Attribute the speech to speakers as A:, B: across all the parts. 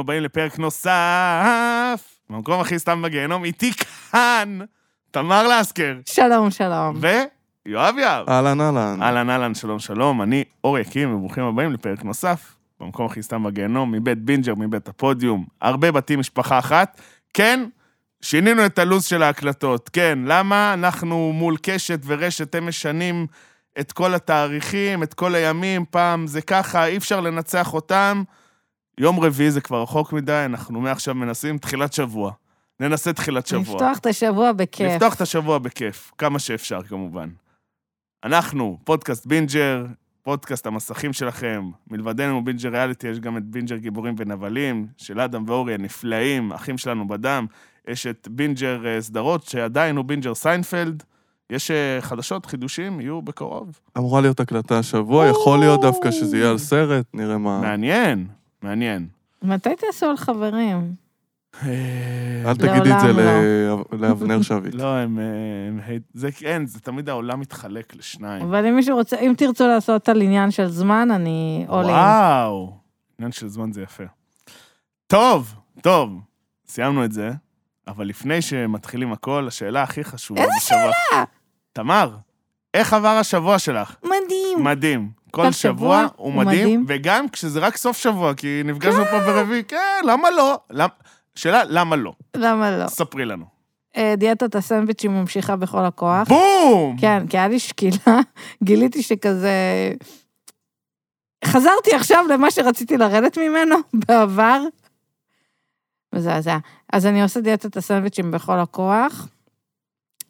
A: הבאים לפרק נוסף, במקום הכי סתם בגיהנום, איתי כאן, תמר לסקר,
B: שלום, שלום.
A: ויואב יהב.
C: אהלן, אהלן.
A: אהלן, אהלן, שלום, שלום, אני אור יקיר, וברוכים הבאים לפרק נוסף, במקום הכי סתם בגיהנום, מבית בינג'ר, מבית הפודיום, הרבה בתים, משפחה אחת. כן, שינינו את הלו"ז של ההקלטות, כן, למה אנחנו מול קשת ורשת, הם משנים את כל התאריכים, את כל הימים, פעם זה ככה, אי אפשר לנצח אותם. יום רביעי זה כבר רחוק מדי, אנחנו מעכשיו מנסים תחילת שבוע. ננסה תחילת שבוע.
B: נפתוח את השבוע בכיף.
A: לפתוח את השבוע בכיף, כמה שאפשר כמובן. אנחנו, פודקאסט בינג'ר, פודקאסט המסכים שלכם. מלבדנו ובינג'ר ריאליטי יש גם את בינג'ר גיבורים ונבלים, של אדם ואורי הנפלאים, אחים שלנו בדם. יש את בינג'ר אה, סדרות, שעדיין הוא בינג'ר סיינפלד. יש אה, חדשות, חידושים, יהיו בקרוב.
C: אמורה להיות הקלטה השבוע, יכול להיות דווקא שזה יהיה על סרט, נראה מה.
A: מעניין, מעניין.
B: מתי תעשו על חברים?
C: אל תגידי את זה ל- לאבנר שביט.
A: לא, הם... אה, הם hate- זה אין, זה תמיד העולם מתחלק לשניים.
B: אבל אם מישהו רוצה, אם תרצו לעשות על עניין של זמן, אני עולה.
A: וואו, עניין של זמן זה יפה. טוב, טוב, סיימנו את זה, אבל לפני שמתחילים הכל, השאלה הכי חשובה.
B: איזה
A: בשבוע- תמר, איך עבר השבוע שלך?
B: מדהים.
A: מדהים. כל
B: כל
A: שבוע
B: שבוע
A: הוא
B: הוא
A: מדהים,
B: מדהים.
A: וגם כשזה רק סוף שבוע, כי נפגשנו פה ברביעי, כן, למה לא? למ- שאלה, למה לא?
B: למה לא?
A: ספרי לנו.
B: אה, דיאטת הסנדוויצ'ים ממשיכה בכל הכוח.
A: בום!
B: כן, כי היה לי שקילה, גיליתי שכזה... חזרתי עכשיו למה שרציתי לרדת ממנו בעבר. מזעזע. אז אני עושה דיאטת הסנדוויצ'ים בכל הכוח.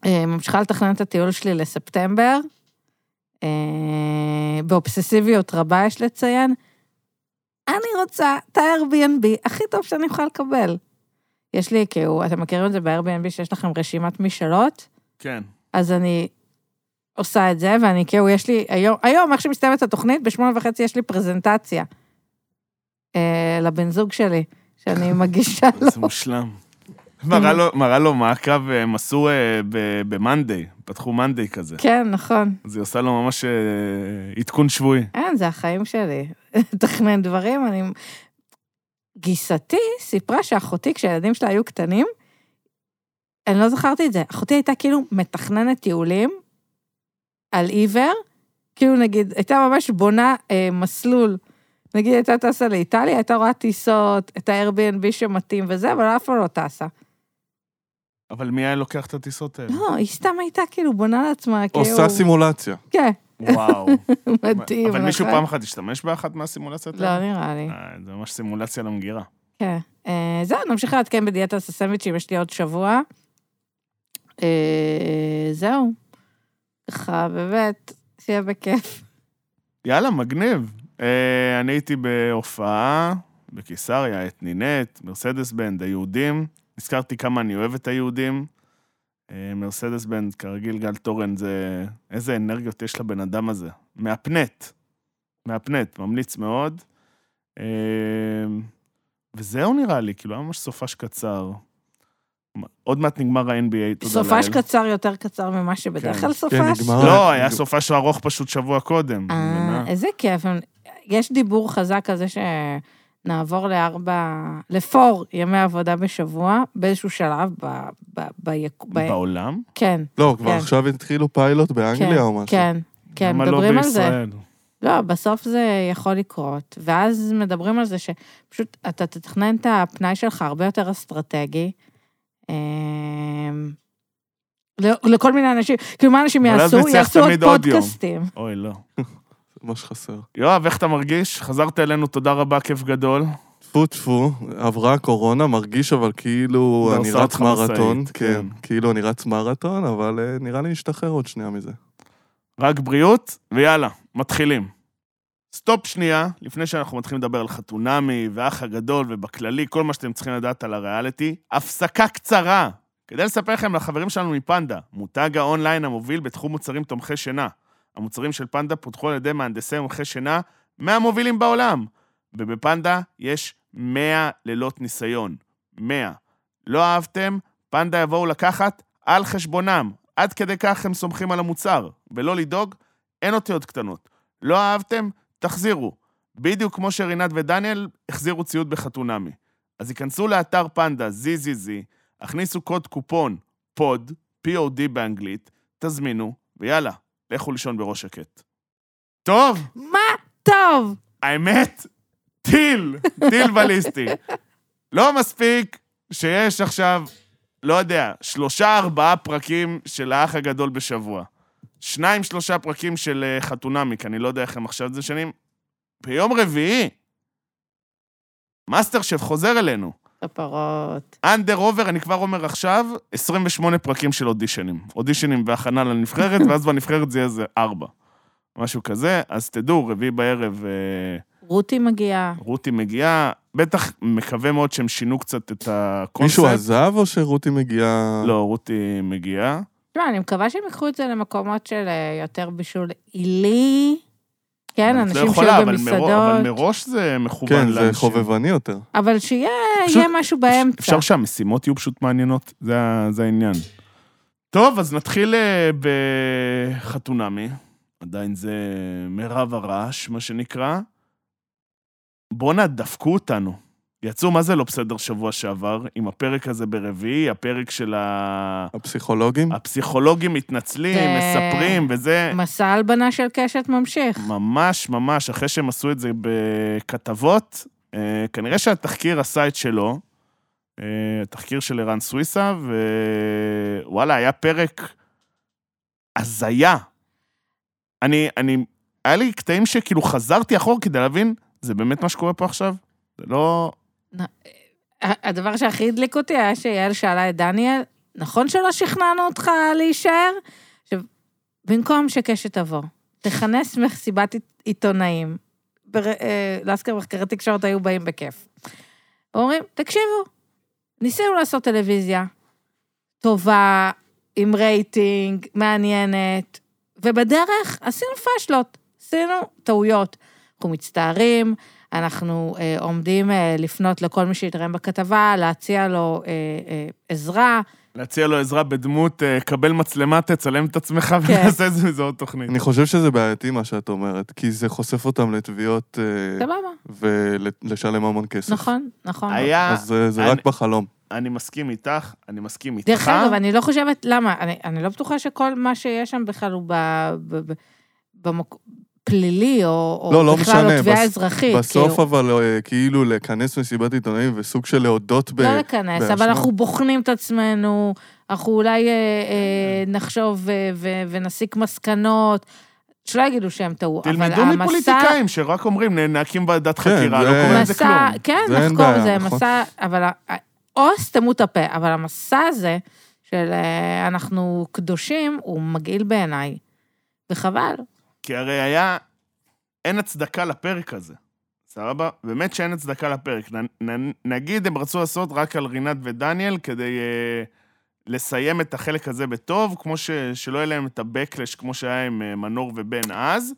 B: אה, ממשיכה לתכנן את הטיול שלי לספטמבר. אה, באובססיביות רבה, יש לציין. אני רוצה את ה-Airbnb הכי טוב שאני יכולה לקבל. יש לי, כאילו, אתם מכירים את זה ב-Airbnb שיש לכם רשימת משאלות?
A: כן.
B: אז אני עושה את זה, ואני כאילו, יש לי היום, היום, איך שמסתיימת התוכנית, בשמונה וחצי יש לי פרזנטציה אה, לבן זוג שלי, שאני מגישה לו.
A: זה מושלם. מראה לו- מראה לו מה הקו הם עשו אה, ב- ב-Monday, פתחו Monday כזה.
B: כן, נכון.
A: אז היא עושה לו ממש אה, עדכון שבועי.
B: אין, כן, זה החיים שלי. לתכנן דברים, אני... גיסתי סיפרה שאחותי, כשהילדים שלה היו קטנים, אני לא זכרתי את זה, אחותי הייתה כאילו מתכננת טיולים על עיוור, כאילו נגיד, הייתה ממש בונה אה, מסלול. נגיד הייתה טסה לאיטליה, הייתה רואה טיסות, את ה-Airbnb שמתאים וזה, אבל אף פעם לא טסה.
A: אבל מי היה לוקח את הטיסות האלה?
B: לא, היא סתם הייתה כאילו בונה לעצמה, כאילו...
C: עושה סימולציה.
B: כן,
A: וואו.
B: מדהים,
A: אבל מישהו
B: נכון?
A: פעם אחת השתמש באחת מהסימולציות
B: לא, נראה לי.
A: אה, זה ממש סימולציה למגירה.
B: כן. אה, זהו, נמשיך לעדכן בדיאטה הסנדוויצ'ים, יש לי עוד שבוע. אה, זהו. ככה, באמת, שיהיה בכיף.
A: יאללה, מגניב. אה, אני הייתי בהופעה בקיסריה, את נינט, מרסדס בנד, היהודים. הזכרתי כמה אני אוהב את היהודים. אה, מרסדס בנד, כרגיל, גל תורן, זה... איזה אנרגיות יש לבן אדם הזה. מהפנט. מהפנט, ממליץ מאוד. אה, וזהו נראה לי, כאילו, היה ממש סופש קצר. עוד מעט נגמר ה-NBA, תודה לאל.
B: סופש קצר יותר קצר ממה שבדרך
A: כן.
B: כלל
C: כן,
B: סופש.
C: נגמר.
A: לא, היה סופש ארוך פשוט שבוע קודם.
B: אה,
A: מבינה?
B: איזה כיף. יש דיבור חזק על זה שנעבור לארבע, לפור ימי עבודה בשבוע, באיזשהו שלב, ב... ב... ב... ב...
A: בעולם?
B: כן,
C: לא, כבר
B: כן.
C: עכשיו התחילו פיילוט
B: כן,
C: באנגליה או משהו.
B: כן, כן,
A: למה לא
B: מדברים על זה.
A: בישראל?
B: לא, בסוף זה יכול לקרות. ואז מדברים על זה שפשוט אתה תתכנן את הפנאי שלך הרבה יותר אסטרטגי. אמ, ל- לכל מיני אנשים, כאילו מה אנשים
A: אבל אז
B: יעשו?
A: נצטרך
B: יעשו עוד
A: תמיד עוד יום.
B: פודקאסטים.
A: אוי, לא.
C: זה מה שחסר.
A: יואב, איך אתה מרגיש? חזרת אלינו, תודה רבה, כיף גדול.
C: טפו טפו, עברה הקורונה, מרגיש אבל כאילו
A: לא
C: אני
A: עושה
C: רץ
A: אותך
C: מרתון.
A: משאית,
C: כן, כאילו אני רץ מרתון, אבל אה, נראה לי נשתחרר עוד שנייה מזה.
A: רק בריאות, ויאללה, מתחילים. סטופ שנייה, לפני שאנחנו מתחילים לדבר על חתונמי, והאח הגדול, ובכללי, כל מה שאתם צריכים לדעת על הריאליטי, הפסקה קצרה. כדי לספר לכם לחברים שלנו מפנדה, מותג האונליין המוביל בתחום מוצרים תומכי שינה. המוצרים של פנדה פותחו על ידי מהנדסי מומחי שינה מהמובילים בעולם. ובפנדה יש 100 לילות ניסיון. 100. לא אהבתם? פנדה יבואו לקחת על חשבונם. עד כדי כך הם סומכים על המוצר. ולא לדאוג, אין אותיות קטנות. לא אהבתם? תחזירו. בדיוק כמו שרינת ודניאל החזירו ציוד בחתונמי. אז ייכנסו לאתר פנדה ZZZ, הכניסו קוד קופון פוד, POD באנגלית, תזמינו, ויאללה, לכו לישון בראש שקט. טוב,
B: מה טוב!
A: האמת, טיל, טיל בליסטי. לא מספיק שיש עכשיו, לא יודע, שלושה, ארבעה פרקים של האח הגדול בשבוע. שניים, שלושה פרקים של אה, חתונמיק, אני לא יודע איך הם עכשיו את זה שנים. ביום רביעי, מאסטר שף חוזר אלינו.
B: כפרות.
A: אנדר עובר, אני כבר אומר עכשיו, 28 פרקים של אודישנים. אודישנים והכנה לנבחרת, ואז בנבחרת זה יהיה איזה ארבע. משהו כזה, אז תדעו, רביעי בערב אה,
B: רותי מגיעה.
A: רותי מגיעה, בטח מקווה מאוד שהם שינו קצת את הקונספט.
C: מישהו עזב או שרותי מגיעה...
A: לא, רותי מגיעה.
B: תשמע, אני מקווה שהם ייקחו את זה למקומות של אה, יותר בישול עילי. כן,
A: אבל את לא
B: אנשים
A: יכולה,
B: שהיו
A: אבל מראש- אבל
B: במסעדות.
A: מראש זה מכוון
C: כן,
A: לאנשים.
C: זה חובבני יותר.
B: אבל שיהיה
A: פשוט-
B: יהיה משהו באמצע.
A: אפשר שהמשימות יהיו פשוט מעניינות, זה, ה- זה העניין. טוב, אז נתחיל אה, בחתונמי, עדיין זה מירב הרעש, מה שנקרא. בואנה, דפקו אותנו. יצאו, מה זה לא בסדר שבוע שעבר, עם הפרק הזה ברביעי, הפרק של ה...
C: הפסיכולוגים?
A: אה, הפסיכולוגים מתנצלים,
B: זה-
A: מספרים וזה.
B: מסע הלבנה של קשת ממשיך.
A: ממש ממש, אחרי שהם עשו את זה בכתבות, אה, כנראה שהתחקיר עשה את שלו, אה, התחקיר של ערן סוויסה, ווואלה, היה פרק הזיה. אני, אני, היה לי קטעים שכאילו חזרתי אחורה כדי להבין, זה באמת מה שקורה פה עכשיו? זה לא...
B: ה- הדבר שהכי הדליק אותי היה שיעל שאלה את דניאל, נכון שלא שכנענו אותך להישאר? עכשיו, במקום שקשת תבוא, תכנס מסיבת עית- עיתונאים, בר- אה, להזכיר מחקרי תקשורת היו באים בכיף. אומרים, תקשיבו, ניסינו לעשות טלוויזיה טובה, עם רייטינג, מעניינת, ובדרך עשינו פאשלות, עשינו טעויות. אנחנו מצטערים, אנחנו אה, עומדים אה, לפנות לכל מי שהתרם בכתבה, להציע לו אה, אה, עזרה.
A: להציע לו עזרה בדמות, אה, קבל מצלמה, תצלם את עצמך
B: כן.
A: ונעשה את זה מזה עוד תוכנית.
C: אני חושב שזה בעייתי מה שאת אומרת, כי זה חושף אותם לתביעות אה,
B: סבבה,
C: ולשלם המון כסף.
B: נכון, נכון.
A: היה,
C: אז אה, זה
A: אני-
C: רק בחלום.
A: אני מסכים איתך, אני מסכים איתך.
B: דרך אגב, אני לא חושבת, למה? אני, אני לא בטוחה שכל מה שיש שם בכלל הוא ב, ב, ב, במוק... פלילי, או, או
C: לא, לא
B: בכלל
C: משנה,
B: או תביעה
C: בס-
B: אזרחית.
C: בסוף
B: כאילו,
C: אבל אה, כאילו לכנס מסיבת עיתונאים וסוג של להודות ב...
B: לא לכנס,
C: באשמה.
B: אבל אנחנו בוחנים את עצמנו, אנחנו אולי אה, אה, נחשוב אה, ו- ונסיק מסקנות, שלא יגידו שהם טעו, אבל המסע...
A: תלמדו מפוליטיקאים שרק אומרים, "נה- נקים ועדת
C: כן,
A: חקירה, לא
C: זה-
A: קוראים לזה כלום.
B: מסע, כן,
C: זה אין
B: לחקור
C: בעיה,
B: זה
C: נכון.
B: מסע, אבל ה- או סתמו את הפה, אבל המסע הזה של אה, אנחנו קדושים, הוא מגעיל בעיניי, וחבל.
A: כי הרי היה... אין הצדקה לפרק הזה, סבבה? באמת שאין הצדקה לפרק. נ, נ, נגיד הם רצו לעשות רק על רינת ודניאל כדי אה, לסיים את החלק הזה בטוב, כמו ש, שלא יהיה להם את הבקלש כמו שהיה עם אה, מנור ובן אז,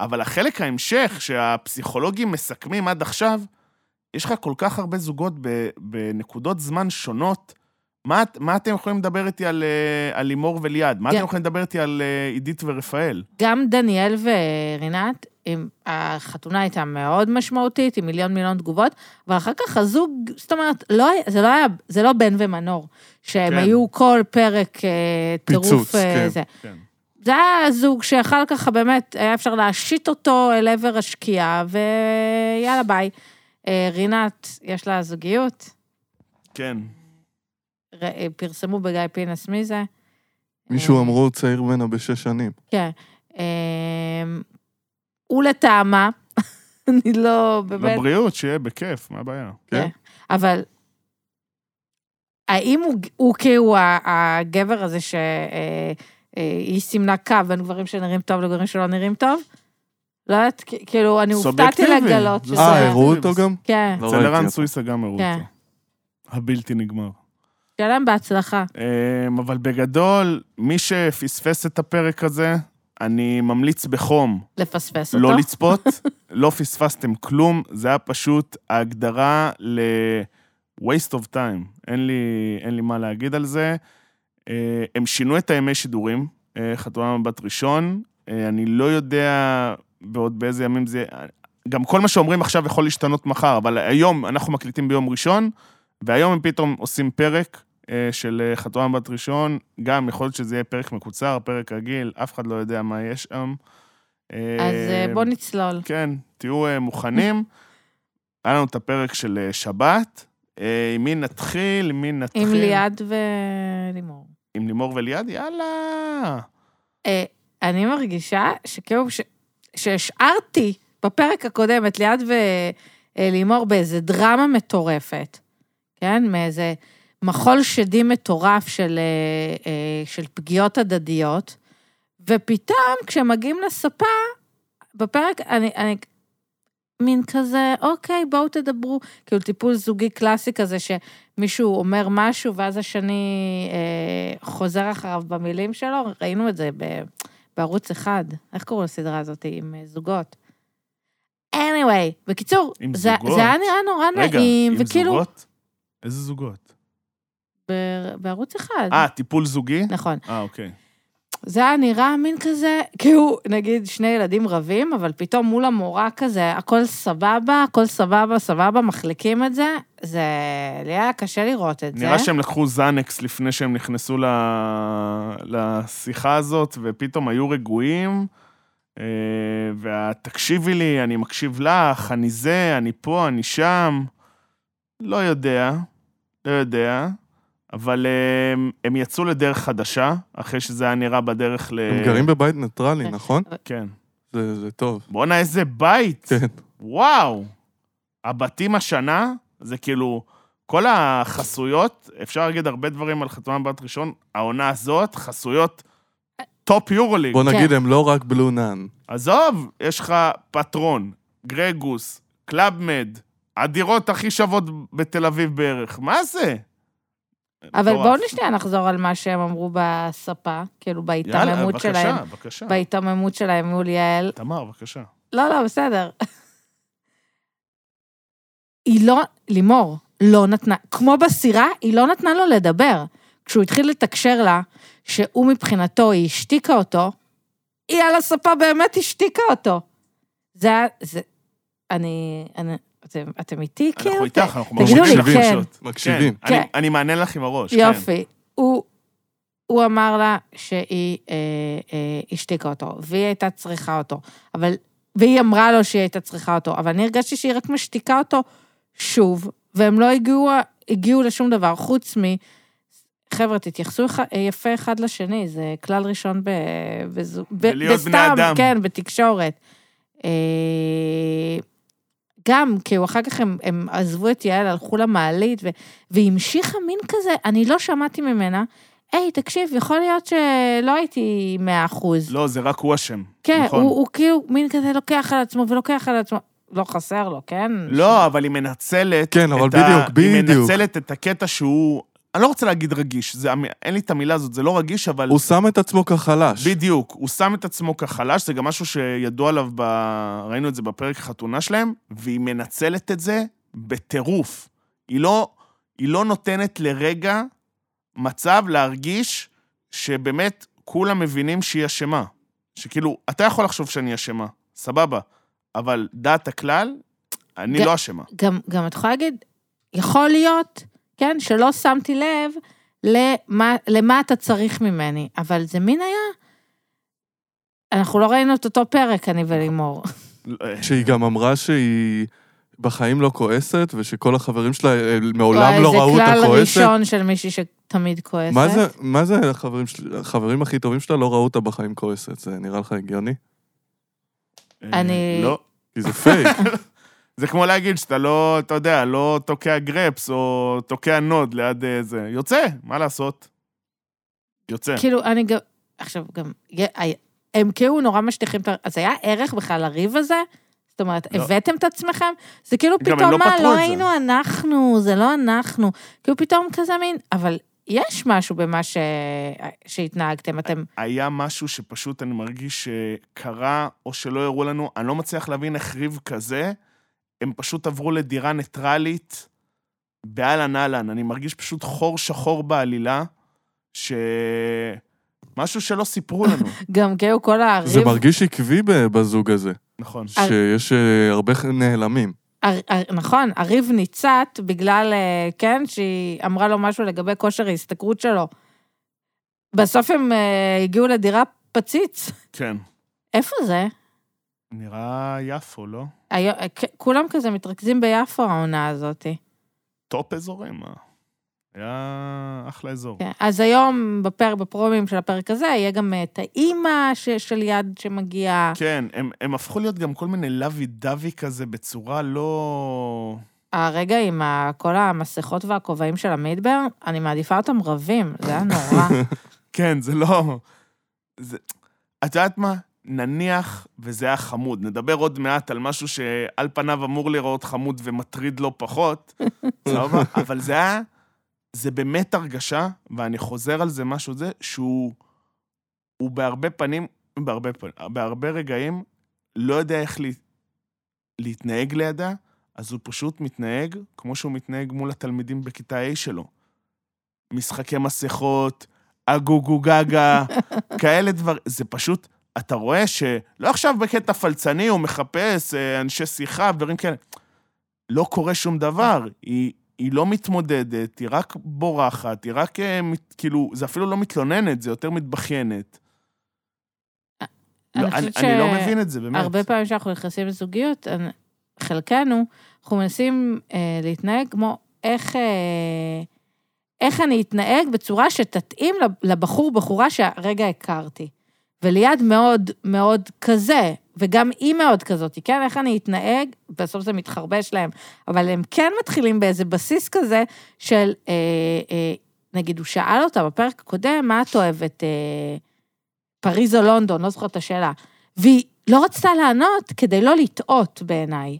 A: אבל החלק ההמשך, שהפסיכולוגים מסכמים עד עכשיו, יש לך כל כך הרבה זוגות ב, בנקודות זמן שונות. מה, את- מה אתם יכולים לדבר איתי על אה, על לימור וליעד? מה אתם
B: כן.
A: יכולים לדבר איתי על אה, עידית ורפאל?
B: גם דניאל ורינת, עם- החתונה הייתה מאוד משמעותית, עם מיליון מיליון תגובות, אבל אחר כך הזוג, זאת אומרת, לא, היה- זה, לא היה, זה לא בן ומנור, שהם
A: כן.
B: כן. היו כל פרק אה,
C: פיצוץ,
B: טירוף אה,
C: כן.
B: זה.
A: כן.
B: זה היה זוג שאחר כך באמת היה אפשר להשית אותו אל עבר השקיעה, ויאללה ביי. אה, רינת, יש לה זוגיות,
A: כן.
B: ר- אה, פרסמו בגיא פינס מי זה.
C: מישהו
B: אה,
C: אמרו צעיר ממנה בשש שנים.
B: כן. אה, ולטעמה, אני לא, באמת,
A: לבריאות, שיהיה בכיף, מה הבעיה?
C: כן.
B: אבל האם הוא, הוא כאילו ה- הגבר הזה שהיא אה, אה, היא סימנה קו בין גברים שנראים טוב לגברים שלא נראים טוב? לא יודעת, כ- כאילו, אני הופתעתי
A: סובייקטיבי,
B: לגלות
A: זה
B: שזה...
C: אה, הראו אותו
A: בסדר.
C: גם?
B: כן,
C: לא
A: אצל
C: ראיתי
A: ערן
C: אותו.
A: סוויסה גם הראו
B: כן.
A: אותו. הבלתי נגמר.
B: שיהיה להם בהצלחה.
A: אמ, אבל בגדול, מי שפספס את הפרק הזה, אני ממליץ בחום
B: לפספס אותו.
A: לא לצפות. לא פספסתם כלום, זה היה פשוט ההגדרה ל... waste of time. אין לי, אין לי מה להגיד על זה. אה, הם שינו את הימי שידורים, אה, חתונה מבט ראשון. אה, אני לא יודע בעוד באיזה ימים זה... גם כל מה שאומרים עכשיו יכול להשתנות מחר, אבל היום אנחנו מקליטים ביום ראשון, והיום הם פתאום עושים פרק אה, של אה, חתונה בת ראשון, גם יכול להיות שזה יהיה פרק מקוצר, פרק רגיל, אף אחד לא יודע מה יש שם. אה,
B: אז אה, בוא נצלול.
A: כן, תהיו אה, מוכנים. היה לנו את הפרק של אה, שבת. אה, עם מי נתחיל? עם מי נתחיל?
B: עם ליעד ולימור.
A: עם לימור וליעד? יאללה.
B: אה, אני מרגישה שכאילו ש- שהשארתי בפרק הקודם את ליעד ולימור באיזה דרמה מטורפת, כן? מאיזה מחול שדים מטורף של, אה, אה, של פגיעות הדדיות, ופתאום כשמגיעים לספה, בפרק אני... אני מין כזה, אוקיי, בואו תדברו. כאילו טיפול זוגי קלאסי כזה, שמישהו אומר משהו ואז השני אה, חוזר אחריו במילים שלו, ראינו את זה ב, בערוץ אחד. איך קוראים לסדרה הזאת? עם אה, זוגות. anyway, בקיצור,
A: עם
B: זה,
A: זוגות?
B: זה היה נראה נורא
A: רגע,
B: נעים,
A: עם
B: וכאילו...
A: זוגות? איזה זוגות?
B: ב, בערוץ אחד.
A: אה, טיפול זוגי?
B: נכון.
A: אה, אוקיי.
B: זה היה נראה מין כזה, כאילו, נגיד שני ילדים רבים, אבל פתאום מול המורה כזה, הכל סבבה, הכל סבבה, סבבה, מחליקים את זה, זה... לי היה קשה לראות את זה.
A: נראה שהם לקחו זנקס לפני שהם נכנסו ל... לשיחה הזאת, ופתאום היו רגועים. אה, והתקשיבי לי, אני מקשיב לך, אני זה, אני פה, אני שם. לא יודע, לא יודע, אבל אה, הם, הם יצאו לדרך חדשה, אחרי שזה היה נראה בדרך ל...
C: הם גרים בבית ניטרלי,
B: כן.
C: נכון?
A: כן.
C: זה זה טוב.
A: בואנה, איזה בית!
C: כן.
A: וואו! הבתים השנה, זה כאילו, כל החסויות, אפשר להגיד הרבה דברים על חתונה בת ראשון, העונה הזאת, חסויות טופ יורוליג.
C: בוא
B: כן.
C: נגיד, הם לא רק בלו נאן.
A: עזוב, יש לך פטרון, גרגוס, קלאבמד, הדירות הכי שוות בתל אביב בערך, מה זה?
B: אבל
A: מטורף.
B: בואו נשניה נחזור על מה שהם אמרו בספה, כאילו
A: יאללה,
B: בהיתממות שלהם.
A: בבקשה, בבקשה.
B: בהיתממות שלהם מול יעל.
A: תמר, בבקשה.
B: לא, לא, בסדר. היא לא, לימור, לא נתנה, כמו בסירה, היא לא נתנה לו לדבר. כשהוא התחיל לתקשר לה, שהוא מבחינתו, היא השתיקה אותו, היא על הספה באמת השתיקה אותו. זה היה, זה, אני, אני, אתם, אתם איתי כאילו?
A: אנחנו איתך, אנחנו
B: תגידו לי,
A: מקשיבים.
B: כן.
A: פשוט.
C: מקשיבים.
A: כן, אני-
B: כן.
A: אני מענה לך עם הראש, כן.
B: יופי. הוא, הוא אמר לה שהיא אה, אה, השתיקה אותו, והיא הייתה צריכה אותו, אבל... והיא אמרה לו שהיא הייתה צריכה אותו, אבל אני הרגשתי שהיא רק משתיקה אותו שוב, והם לא הגיעו, הגיעו לשום דבר, חוץ מ... חבר'ה, תתייחסו אחד- יפה אחד לשני, זה כלל ראשון ב... בזו- ב-
A: בלהיות בני
B: בסתם,
A: אדם.
B: כן, בתקשורת. אה, גם, כאילו, אחר כך הם, הם עזבו את יעל, הלכו למעלית, ו, והיא המשיכה מין כזה, אני לא שמעתי ממנה, היי, תקשיב, יכול להיות שלא הייתי מאה אחוז.
A: לא, זה רק הוא אשם.
B: כן,
A: נכון.
B: הוא, הוא כאילו מין כזה לוקח על עצמו ולוקח על עצמו. לא חסר לו, כן?
A: לא, אבל היא מנצלת...
C: כן, אבל
A: את ה-
C: בדיוק,
A: היא
C: בדיוק.
A: מנצלת את הקטע שהוא... אני לא רוצה להגיד רגיש, זה, המ- אין לי את המילה הזאת, זה לא רגיש, אבל...
C: הוא שם את עצמו כחלש.
A: בדיוק, הוא שם את עצמו כחלש, זה גם משהו שידוע עליו, ב... ראינו את זה בפרק החתונה שלהם, והיא מנצלת את זה בטירוף. היא לא, היא לא נותנת לרגע מצב להרגיש שבאמת כולם מבינים שהיא אשמה. שכאילו, אתה יכול לחשוב שאני אשמה, סבבה, אבל דעת הכלל, אני
B: ג-
A: לא אשמה.
B: גם, גם את יכולה להגיד, יכול להיות, כן, שלא שמתי לב למה, למה אתה צריך ממני, אבל זה מין היה... אנחנו לא ראינו את אותו פרק, אני ולימור.
A: אה,
C: שהיא גם אמרה שהיא בחיים לא כועסת, ושכל החברים שלה אה, מעולם לא ראו אותה
B: זה כלל
C: כועסת.
B: ראשון של מישהי שתמיד כועסת.
C: מה זה- מה זה החברים של- החברים הכי טובים שלה לא ראו אותה בחיים כועסת? זה נראה לך הגיוני?
B: אני-
A: לא.
C: כי זה פייק.
A: זה כמו להגיד שאתה לא, אתה יודע, לא תוקע גרפס או תוקע נוד ליד אה, זה. יוצא, מה לעשות? יוצא.
B: כאילו, אני גם... עכשיו, גם... הם כאילו נורא משטיחים את ה... אז היה ערך בכלל לריב הזה? זאת אומרת,
A: לא.
B: הבאתם את עצמכם? זה כאילו
A: גם הם לא
B: פתאום, מה,
A: פתרו את
B: לא
A: זה."
B: היינו אנחנו, זה לא אנחנו. כאילו פתאום כזה מין... אבל יש משהו במה ש... שהתנהגתם, אתם...
A: היה משהו שפשוט אני מרגיש שקרה או שלא הראו לנו, אני לא מצליח להבין איך ריב כזה, הם פשוט עברו לדירה ניטרלית באהלן אהלן. אני מרגיש פשוט חור שחור בעלילה, ש... משהו שלא סיפרו לנו.
B: גם כאילו כל
C: זה
B: הריב...
C: מרגיש עקבי ב- בזוג הזה.
A: נכון.
C: שיש אה, הרבה נעלמים.
B: הר, הר, נכון, הריב ניצת בגלל, אה, כן, שהיא אמרה לו משהו לגבי כושר ההשתכרות שלו. בסוף הם אה, הגיעו לדירה פציץ.
A: כן.
B: איפה זה?
A: נראה יפו, לא?
B: היום, אה, כ- כולם כזה מתרכזים ביפו העונה הזאת.
A: טופ אזורים, מה? היה אחלה אזור.
B: כן. אז היום, בפר, בפרומים של הפרק הזה, יהיה גם אה, את האימא ש- של יד שמגיעה.
A: כן, הם, הם הפכו להיות גם כל מיני לוי דווי כזה בצורה לא...
B: הרגע עם ה- כל המסכות והכובעים של המדבר, אני מעדיפה אותם רבים, זה היה נורא.
A: כן, זה לא... זה... את יודעת מה? נניח, וזה היה חמוד, נדבר עוד מעט על משהו שעל פניו אמור להיראות חמוד ומטריד לא פחות, סבבה? אבל זה היה... זה באמת הרגשה, ואני חוזר על זה משהו זה, שהוא... הוא בהרבה פנים, בהרבה, פ- בהרבה רגעים, לא יודע איך לה, להתנהג לידה, אז הוא פשוט מתנהג כמו שהוא מתנהג מול התלמידים בכיתה A שלו. משחקי מסכות, אגוגו גגה, כאלה דברים. זה פשוט, אתה רואה שלא עכשיו בקטע פלצני, הוא מחפש אה, אנשי שיחה, דברים כאלה. לא קורה שום דבר. היא, היא לא מתמודדת, היא רק בורחת, היא רק אה, מת, כאילו, זה אפילו לא מתלוננת, זה יותר מתבכיינת.
B: אני
A: לא, אני,
B: אה, חושבת
A: אני לא
B: ש-
A: מבין את זה, באמת.
B: הרבה פעמים כשאנחנו נכנסים לזוגיות, אנ- חלקנו, אנחנו מנסים אה, להתנהג כמו איך, אה, איך אני אתנהג בצורה שתתאים לב- לבחור, בחורה שהרגע הכרתי. וליד מאוד מאוד כזה, וגם היא מאוד כזאת, כן? איך אני אתנהג, בסוף זה מתחרבש להם. אבל הם כן מתחילים באיזה בסיס כזה של, אה, אה, נגיד, הוא שאל אותה בפרק הקודם, מה את אוהבת, אה, פריז או לונדון, לא זוכרת את השאלה. והיא לא רצתה לענות כדי לא לטעות בעיניי.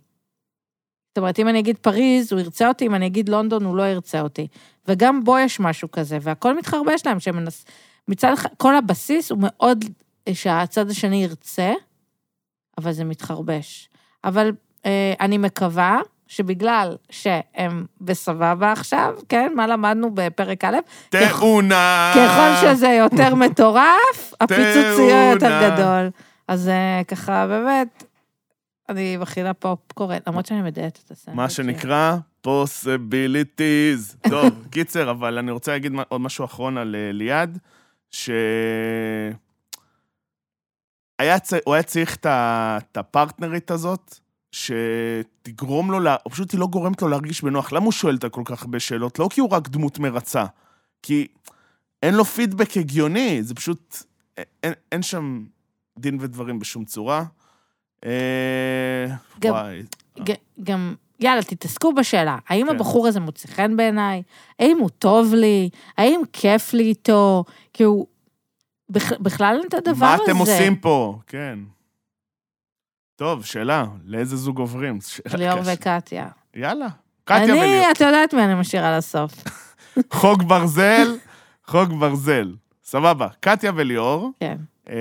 B: זאת אומרת, אם אני אגיד פריז, הוא ירצה אותי, אם אני אגיד לונדון, הוא לא ירצה אותי. וגם בו יש משהו כזה, והכל מתחרבש להם, שמנס... מצד אחד, כל הבסיס הוא מאוד אה, שהצד השני ירצה, אבל זה מתחרבש. אבל אה, אני מקווה שבגלל שהם בסבבה עכשיו, כן, מה למדנו בפרק א',
A: תאונה!
B: ככל
A: אה,
B: שזה יותר מטורף, הפיצוץ יהיה יותר
A: תאונה.
B: גדול. אז אה, ככה, באמת, אני מכינה פופקורן, למרות שאני מדייקת את הסנדוויץ'.
A: מה שנקרא פוסיביליטיז. טוב, קיצר, אבל אני רוצה להגיד מה- עוד משהו אחרון על אה, ליעד, ש... היה צ... הוא היה צריך את ה- את הפרטנרית הזאת, שתגרום לו, לה... או פשוט היא לא גורמת לו להרגיש בנוח. למה הוא שואל אותה כל כך הרבה שאלות? לא כי הוא רק דמות מרצה, כי אין לו פידבק הגיוני, זה פשוט... א- אין, אין שם דין ודברים בשום צורה. אה...
B: גם-
A: וואי,
B: ג- גם, יאללה, תתעסקו בשאלה, האם
A: כן.
B: הבחור הזה מוצא חן בעיניי? האם הוא טוב לי? האם כיף לי איתו? כי הוא... בכ- בכלל אין את הדבר הזה.
A: מה אתם עושים פה? כן. טוב, שאלה, לאיזה זוג עוברים? שאלה
B: ליאור
A: קשה.
B: וקטיה.
A: יאללה. קטיה וליאור.
B: אני, את יודעת מי אני משאירה לסוף.
A: חוק ברזל, חוק ברזל. סבבה, קטיה וליאור,
B: כן.
A: אה,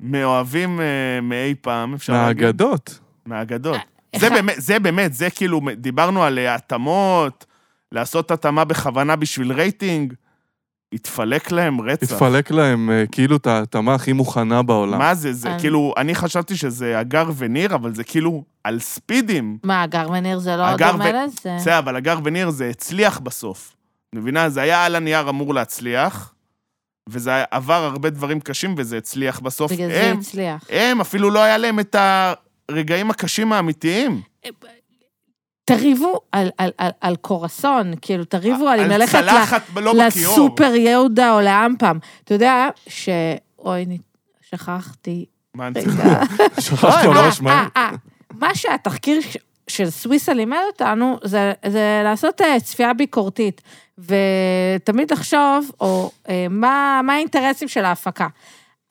A: מאוהבים אה, מאי פעם, אפשר להגיד.
C: מהאגדות.
A: מהאגדות.
B: אה,
A: זה
B: אחד-
A: באמת, זה באמת, זה כאילו, דיברנו על אה, התאמות, לעשות התאמה בכוונה בשביל רייטינג, התפלק להם רצח.
C: התפלק להם אה, כאילו את ההתאמה הכי מוכנה בעולם.
A: מה זה, זה
B: אני-
A: כאילו, אני חשבתי שזה הגר וניר, אבל זה כאילו על ספידים.
B: מה, הגר וניר זה לא
A: הגר
B: דומה
A: ו-
B: לזה?
A: בסדר, אבל הגר וניר זה הצליח בסוף. את מבינה? זה היה על הנייר אמור להצליח, וזה היה- עבר הרבה דברים קשים וזה הצליח בסוף.
B: בגלל זה
A: הם,
B: הצליח.
A: הם, אפילו לא היה להם את הרגעים הקשים האמיתיים.
B: תריבו על, על, על, על קורסון, כאילו, תריבו על אם ללכת ל,
A: צלחת לא בכיור.
B: לסופר יהודה או לאמפם. אתה יודע ש... אוי, אני- שכחתי.
A: מה אני צריך?
B: רגע.
C: שכחת ממש
B: אה,
C: מהר.
B: אה, מה שהתחקיר ש- של סוויסה לימד אותנו, זה, זה לעשות אה, צפייה ביקורתית, ותמיד לחשוב, או אה, מה, מה האינטרסים של ההפקה.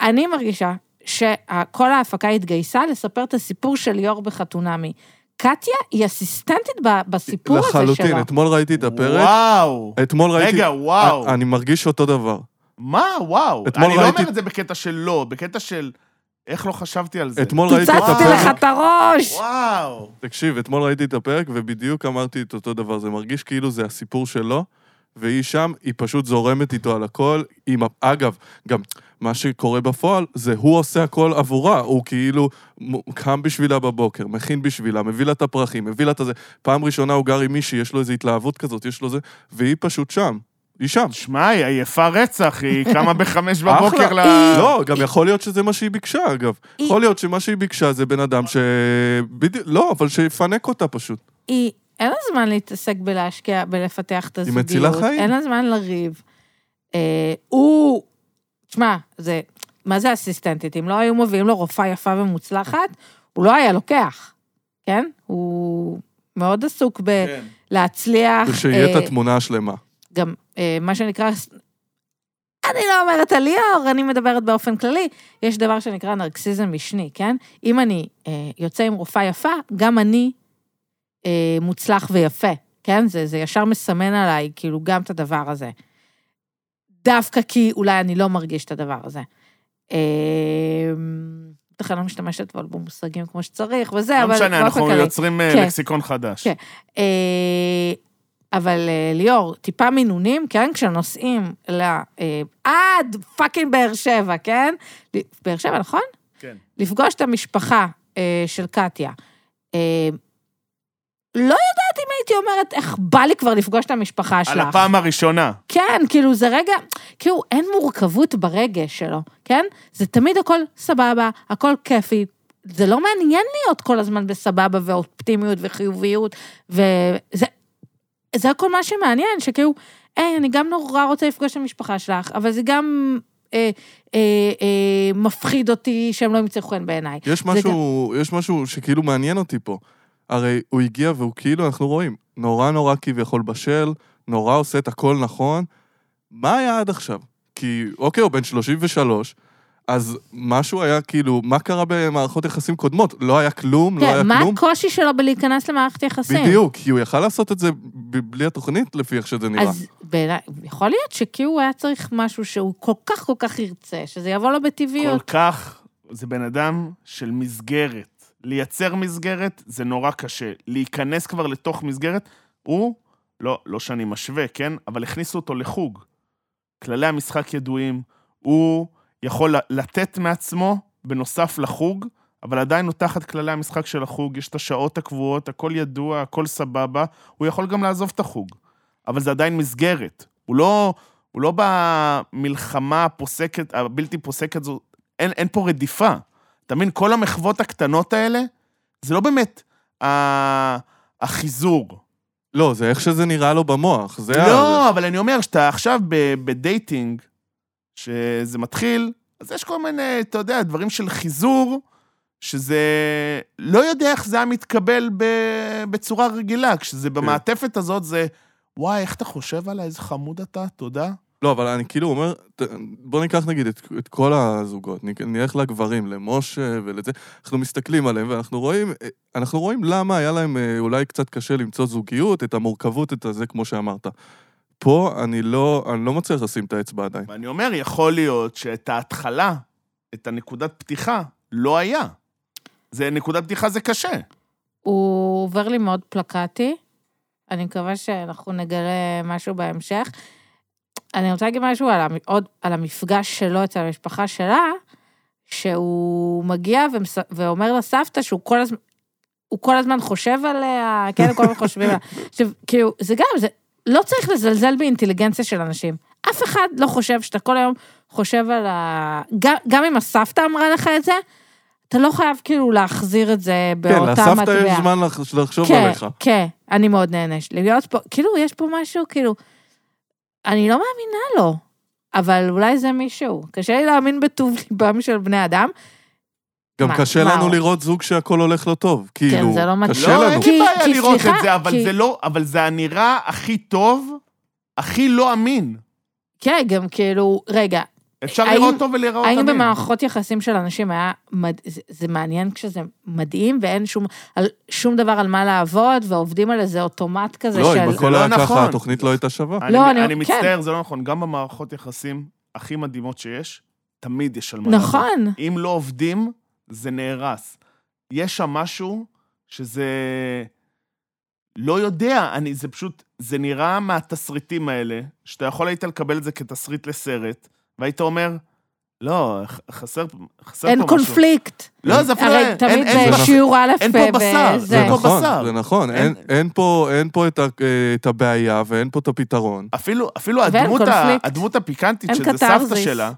B: אני מרגישה שכל ההפקה התגייסה לספר את הסיפור של ליאור בחתונמי. קטיה היא אסיסטנטית ב- בסיפור הזה שלו.
C: לחלוטין, אתמול ראיתי את הפרק.
A: וואו.
C: אתמול ראיתי...
A: רגע, וואו.
C: אה, אני מרגיש אותו דבר.
A: מה, וואו?
C: אתמול
A: אני לא
C: ראיתי-
A: אומר את זה בקטע של לא, בקטע של איך לא חשבתי על זה.
C: אתמול ראיתי את
B: פיצצתי
C: הפרק.
B: לך את הראש!
A: וואו.
C: תקשיב, אתמול ראיתי את הפרק ובדיוק אמרתי את אותו דבר. זה מרגיש כאילו זה הסיפור שלו, והיא שם, היא פשוט זורמת איתו על הכל. עם... ה- אגב, גם מה שקורה בפועל, זה הוא עושה הכל עבורה. הוא כאילו מ- קם בשבילה בבוקר, מכין בשבילה, מביא לה את הפרחים, מביא לה את הזה. פעם ראשונה הוא גר עם מישהי, יש לו איזו התלהבות כזאת, יש לו זה, והיא פשוט שם. היא שם.
A: שמע, היא עייפה רצח, היא קמה בחמש בבוקר ל...
B: היא-
C: לא, גם יכול להיות שזה מה שהיא ביקשה, אגב.
B: היא-
C: יכול להיות שמה שהיא ביקשה זה בן אדם ש... בדיוק, לא, אבל שיפנק אותה פשוט.
B: היא, אין לה זמן להתעסק בלהשקיע, בלפתח את הזוגיות.
C: מצילה חיים.
B: אין לה זמן לריב. אה, הוא, תשמע, זה, מה זה אסיסטנטית? אם לא היו מביאים לו רופאה יפה ומוצלחת, הוא לא היה לוקח, כן? הוא מאוד עסוק בלהצליח.
C: ושיהיה את
B: אה,
C: התמונה השלמה.
B: גם אה, מה שנקרא, אני לא אומרת על ליאור, אני מדברת באופן כללי, יש דבר שנקרא נרקסיזם משני, כן? אם אני אה, יוצא עם רופאה יפה, גם אני אה, מוצלח ויפה, כן? זה, זה ישר מסמן עליי, כאילו, גם את הדבר הזה. דווקא כי אולי אני לא מרגיש את הדבר הזה. אה, בטח אני לא משתמשת אבל במושגים כמו שצריך וזה,
A: לא
B: אה, אבל
A: משנה,
B: באופן
A: אנחנו
B: כללי.
A: יוצרים אה,
B: כן.
A: לקסיקון חדש.
B: כן. אה, אבל אה, ליאור, טיפה מינונים, כן? כשנוסעים ל... אה, עד פאקינג באר שבע, כן? ל- באר שבע, נכון?
A: כן.
B: לפגוש את המשפחה אה, של קטיה. אה, לא יודעת אם הייתי אומרת איך בא לי כבר לפגוש את המשפחה שלך.
A: על הפעם הראשונה.
B: כן, כאילו זה רגע, כאילו אין מורכבות ברגש שלו, כן? זה תמיד הכל סבבה, הכל כיפי. זה לא מעניין להיות כל הזמן בסבבה ואופטימיות וחיוביות, וזה זה הכל מה שמעניין, שכאילו, היי, אני גם נורא רוצה לפגוש את המשפחה שלך, אבל זה גם אה, אה, אה, מפחיד אותי שהם לא ימצאו חן בעיניי.
C: יש
B: זה
C: משהו, יש משהו שכאילו מעניין אותי פה. הרי הוא הגיע והוא כאילו, אנחנו רואים, נורא נורא כביכול בשל, נורא עושה את הכל נכון. מה היה עד עכשיו? כי, אוקיי, הוא בן 33, אז משהו היה כאילו, מה קרה במערכות יחסים קודמות? לא היה כלום, לא היה
B: כן, מה
C: כלום.
B: הקושי שלו בלהיכנס למערכת יחסים?
C: בדיוק, כי הוא יכל לעשות את זה ב- בלי התוכנית, לפי איך שזה נראה.
B: אז בעיניי, יכול להיות שכאילו היה צריך משהו שהוא כל כך כל כך ירצה, שזה יבוא לו
A: כל
B: בטבעיות.
A: כך, זה בן אדם של מסגרת. לייצר מסגרת זה נורא קשה. להיכנס כבר לתוך מסגרת, הוא, לא, לא שאני משווה, כן? אבל הכניסו אותו לחוג. כללי המשחק ידועים, הוא יכול ל- לתת מעצמו בנוסף לחוג, אבל עדיין הוא תחת כללי המשחק של החוג, יש את השעות הקבועות, הכל ידוע, הכל סבבה, הוא יכול גם לעזוב את החוג. אבל זה עדיין מסגרת. הוא לא, הוא לא במלחמה הפוסקת, הבלתי פוסקת זו, אין, אין פה רדיפה. אתה מבין? כל המחוות הקטנות האלה, זה לא באמת ה- החיזור.
C: לא, זה איך שזה נראה לו במוח. זה ה-
A: לא, אבל אני אומר, שאתה עכשיו ב- בדייטינג, שזה מתחיל, אז יש כל מיני, אתה יודע, דברים של חיזור, שזה... לא יודע איך זה היה מתקבל ב- בצורה רגילה,
C: כן.
A: כשזה במעטפת הזאת, זה... וואי, איך אתה חושב עליי, איזה חמוד אתה, תודה.
C: לא, אבל אני כאילו אומר, ת- בוא ניקח נגיד את, את כל הזוגות, נ- נלך לגברים, למשה ולזה, אנחנו מסתכלים עליהם ואנחנו רואים, אה, אנחנו רואים למה היה להם אה, אולי קצת קשה למצוא זוגיות, את המורכבות, את הזה, כמו שאמרת. פה אני לא, אני לא מצליח לשים את האצבע עדיין.
A: ואני אומר, יכול להיות שאת ההתחלה, את הנקודת פתיחה, לא היה. זה, נקודת פתיחה זה קשה.
B: הוא עובר לי מאוד פלקטי, אני מקווה שאנחנו נגלה משהו בהמשך. אני רוצה להגיד משהו על, המ- עוד, על המפגש שלו אצל המשפחה שלה, שהוא מגיע ומס... ואומר לסבתא שהוא כל הזמן, הוא כל הזמן חושב עליה, כן, כל הזמן חושבים עליה. עכשיו, כאילו, זה גם, זה, לא צריך לזלזל באינטליגנציה של אנשים. אף אחד לא חושב שאתה כל היום חושב על ה... גם, גם אם הסבתא אמרה לך את זה, אתה לא חייב כאילו להחזיר את זה באותה
C: כן,
B: מטבע.
C: לסבתא יש זמן לח- לחשוב
B: כן,
C: עליך.
B: כן, אני מאוד נהנה שלי. להיות פה, כאילו, יש פה משהו, כאילו, אני לא מאמינה לו, אבל אולי זה מישהו. קשה לי להאמין בטוב ליבם של בני אדם.
C: גם
B: מה-
C: קשה
B: מה
C: לנו
B: הוא?
C: לראות זוג שהכל הולך לא טוב. כאילו,
B: זה לא מתאים.
C: קשה
A: לא,
C: לנו.
A: אין לי
B: כי-
A: בעיה
B: כי
A: לראות את
B: סליחה,
A: זה, אבל
B: כי-
A: זה לא, אבל זה הנראה הכי טוב, הכי לא אמין.
B: כן, גם כאילו, רגע,
A: אפשר
B: האם-
A: לראות טוב ולהיראות אמין.
B: האם במערכות יחסים של אנשים היה, מד... זה, זה מעניין כשזה מדהים ואין שום, על, שום דבר על מה לעבוד, ועובדים על איזה אוטומט כזה
C: לא,
B: של...
C: אם הכל
A: לא
C: היה
A: נכון.
C: ככה, התוכנית לא הייתה שווה.
B: לא,
A: אני,
B: אני-
A: אני
B: כן.
A: מצטער, זה לא נכון. גם במערכות יחסים הכי מדהימות שיש, תמיד יש על מה לעבוד.
B: נכון,
A: אם לא עובדים, זה נהרס. יש שם משהו שזה... לא יודע, אני, זה פשוט זה נראה מהתסריטים האלה, שאתה יכול היית לקבל את זה כתסריט לסרט, והיית אומר, לא, ח- חסר, חסר
B: אין
A: פה משהו.
B: קונפליקט.
A: לא, זה אפילו...
B: הרי
A: אין-
B: תמיד
A: אין- אין-
B: בשיעור א',
A: אין פה בשר,
B: בזה.
A: זה כמו
C: נכון,
A: בשר.
C: זה נכון,
A: אין-
C: אין- אין פה- אין פה את ה- אה, את הבעיה ואין פה את הפתרון.
A: אפילו, אפילו
B: ואין
A: הדמות, ה,
B: קונפליקט.
A: הדמות הפיקנטית,
B: אין
A: שזה סבתא
B: קתרזיס.
A: שלה,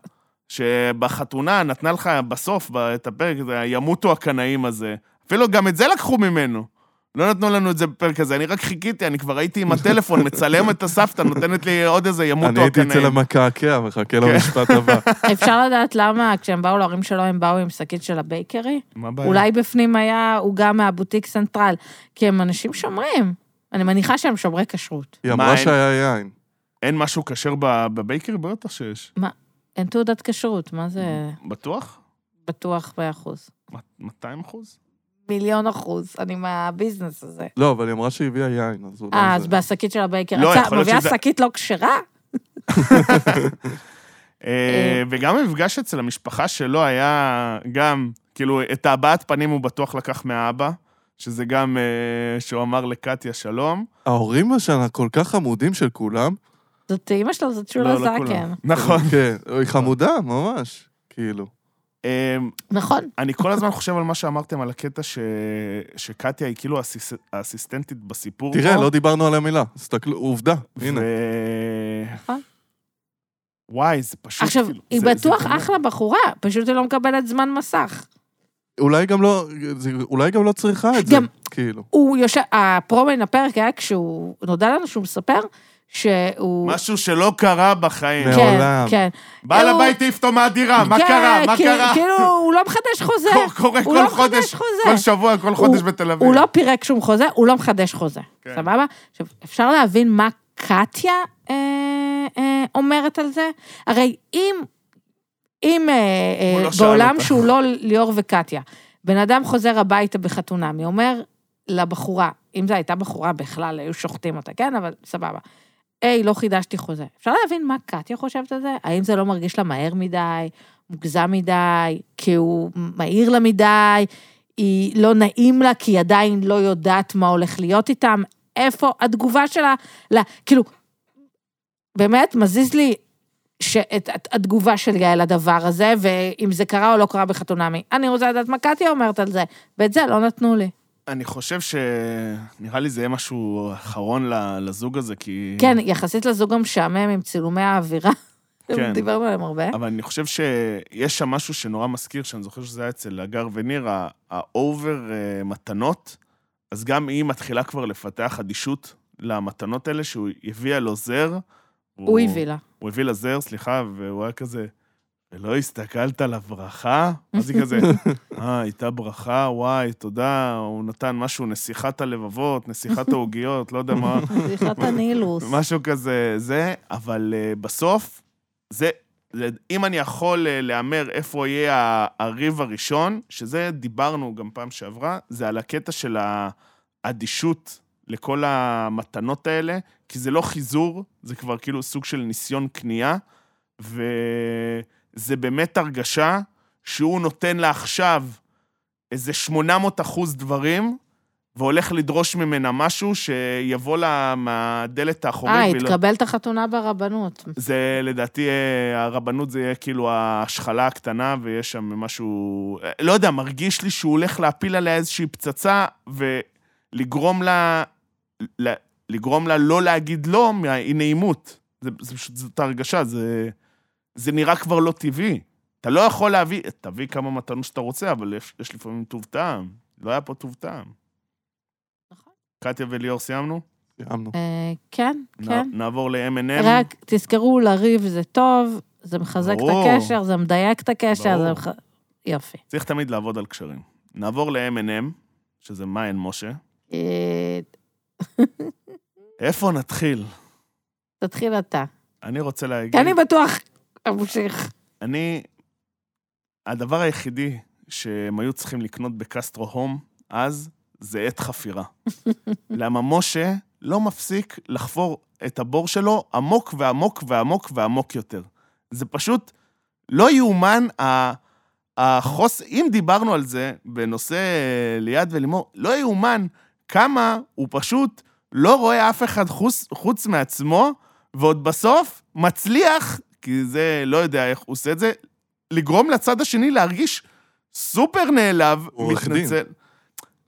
A: שבחתונה נתנה לך בסוף ב- את הפרק, הזה, ימותו הקנאים הזה. אפילו גם את זה לקחו ממנו. לא נתנו לנו את זה בפרק הזה, אני רק חיכיתי, אני כבר הייתי עם הטלפון, מצלם את הסבתא, נותנת לי עוד איזה ימותו
C: אני
A: הקנאים.
C: הייתי אצל המקעקע,
A: כן.
C: מחכה למשפט הבא.
B: אפשר לדעת למה כשהם באו להורים שלו, הם באו עם שקית של הבייקרי?
A: מה הבעיה?
B: אולי בפנים היה עוגה מהבוטיק סנטרל, כי הם אנשים שומרים. אני מניחה שהם שומרי כשרות.
C: היא
A: מה,
C: אמרה
A: אין-
C: שהיה יין.
A: אין משהו כשר ב- בבייקרי? בטח שיש.
B: אין תעודת כשרות, מה זה
A: בטוח?
B: בטוח מאה אחוז?
A: מ- 200 אחוז?
B: מיליון אחוז, אני מהביזנס הזה.
C: לא, אבל היא אמרה שהיא הביאה יין, אז אולי
B: אה, אז
C: זה-
B: בשקית של הבייקר.
A: לא,
B: אתה
A: יכול להיות
B: מביאה
A: שזה-
B: שקית לא כשרה?
A: אה, וגם המפגש אצל המשפחה שלו היה גם, כאילו, את הבעת פנים הוא בטוח לקח מהאבא, שזה גם, אה, שהוא אמר לקטיה שלום.
C: ההורים השנה כל כך חמודים של כולם.
B: זאת אימא שלו, זאת שולה
A: לא, לא כולם.
B: זקן.
A: נכון.
C: כן, היא חמודה, ממש. כאילו.
A: אה,
B: נכון.
A: אני כל הזמן חושב על מה שאמרתם, על הקטע ש- שקטיה היא כאילו האסיס- האסיסטנטית בסיפור.
C: תראה,
A: פה,
C: לא דיברנו על המילה. תסתכלו, עובדה,
A: ו-
C: הנה.
B: נכון.
A: וואי, זה פשוט...
B: עכשיו,
A: כאילו,
B: היא
A: זה- זה
B: בטוח
A: באמת-
B: אחלה בחורה, פשוט היא לא מקבלת זמן מסך.
C: אולי גם לא, זה- אולי גם לא צריכה את זה,
B: גם-
C: כאילו.
B: הוא יושב, הפרומן הפרק היה כשהוא, נודע לנו שהוא מספר שהוא...
A: משהו שלא קרה בחיים.
C: מאוד.
B: כן,
C: מעולם.
B: כן.
A: בעל
B: הוא-
A: הבית העיף אותו מהדירה, אה, מה
B: כן,
A: קרה? מה
B: כי-
A: קרה?
B: כאילו, הוא לא מחדש חוזה.
A: קורה
B: הוא לא
A: כל
B: מחדש
A: חודש,
B: חוזה.
A: כל שבוע, כל חודש בתל אביב.
B: הוא לא פירק שום חוזה, הוא לא מחדש חוזה.
A: כן.
B: סבבה? עכשיו, אפשר להבין מה קטיה אה, אה, אומרת על זה? הרי אם, אם אה,
A: הוא
B: אה,
A: לא שאל
B: בעולם
A: אותה.
B: שהוא לא ליאור וקטיה, בן אדם חוזר הביתה בחתונמי, אומר לבחורה, אם זו הייתה בחורה בכלל, היו שוחטים אותה, כן? אבל סבבה. היי, לא חידשתי חוזה. אפשר להבין מה קטיה חושבת על זה? האם זה לא מרגיש לה מהר מדי, מוגזם מדי, כי הוא מהיר לה מדי, היא לא נעים לה כי היא עדיין לא יודעת מה הולך להיות איתם, איפה התגובה שלה, לה, כאילו, באמת מזיז לי ש- את, את, התגובה של יעל לדבר הזה, ואם זה קרה או לא קרה בחתונמי. אני רוצה לדעת מה קטיה אומרת על זה, ואת זה לא נתנו לי.
A: אני חושב ש... נראה לי זה יהיה משהו אחרון ל- לזוג הזה, כי...
B: כן, יחסית לזוג המשעמם עם צילומי האווירה,
A: כן.
B: דיברנו עליהם הרבה.
A: אבל אני חושב שיש שם משהו שנורא מזכיר, שאני זוכר שזה היה אצל הגר וניר, ה- האובר אה, מתנות, אז גם היא מתחילה כבר לפתח אדישות למתנות האלה, שהוא הביאה לו זר.
B: הוא הביא לה.
A: הוא הביא לה זר, סליחה, והוא היה כזה, ולא הסתכלת על הברכה? אז היא כזה, אה, הייתה ברכה, וואי, תודה, הוא נתן משהו, נסיכת הלבבות, נסיכת העוגיות, לא יודע מה,
B: שיחת הנילוס.
A: משהו כזה, זה, אבל אה, בסוף, זה, זה- אם אני יכול אה, להמר איפה יהיה ה- הריב הראשון, שזה דיברנו גם פעם שעברה, זה על הקטע של האדישות לכל המתנות האלה, כי זה לא חיזור, זה כבר כאילו סוג של ניסיון קנייה, וזה באמת הרגשה שהוא נותן לה עכשיו איזה 800 אחוז דברים, והולך לדרוש ממנה משהו שיבוא לה מהדלת האחורית.
B: אה,
A: והיא לא-
B: התקבל את החתונה ברבנות.
A: זה לדעתי, אה, הרבנות זה יהיה כאילו ההשחלה הקטנה, ויש שם משהו... אה, לא יודע, מרגיש לי שהוא הולך להפיל עליה איזושהי פצצה, ולגרום לה... ל- לגרום לה לא להגיד לא מהאי-נעימות. זה, זה פשוט, זאת הרגשה, זה... זה נראה כבר לא טבעי. אתה לא יכול להביא... תביא כמה מתנות שאתה רוצה, אבל יש, יש לפעמים טוב טעם. לא היה פה טוב טעם.
B: נכון.
A: קטיה וליאור סיימנו?
C: סיימנו.
B: אה, כן, כן.
A: נע- נעבור ל-M&M.
B: רק תזכרו, לריב זה טוב, זה מחזק את
A: ברור.
B: הקשר, זה מדייק את הקשר,
A: ברור.
B: זה... מח- יופי.
A: צריך תמיד לעבוד על קשרים. נעבור ל-M&M, שזה מעיין משה.
B: אה,
A: איפה נתחיל?
B: תתחיל אתה.
A: אני רוצה להגיד...
B: כי אני בטוח, אמשיך.
A: אני... הדבר היחידי שהם היו צריכים לקנות בקסטרו הום אז, זה עת חפירה. למה משה לא מפסיק לחפור את הבור שלו עמוק ועמוק ועמוק ועמוק יותר. זה פשוט לא יאומן ה... החוס... אם דיברנו אה, על זה בנושא ליעד ולימור, לא יאומן כמה הוא פשוט לא רואה אף אחד חוץ, חוץ מעצמו, ועוד בסוף מצליח, כי זה, לא יודע איך הוא עושה את זה, לגרום לצד השני להרגיש סופר נעלב,
C: הוא עורך דין.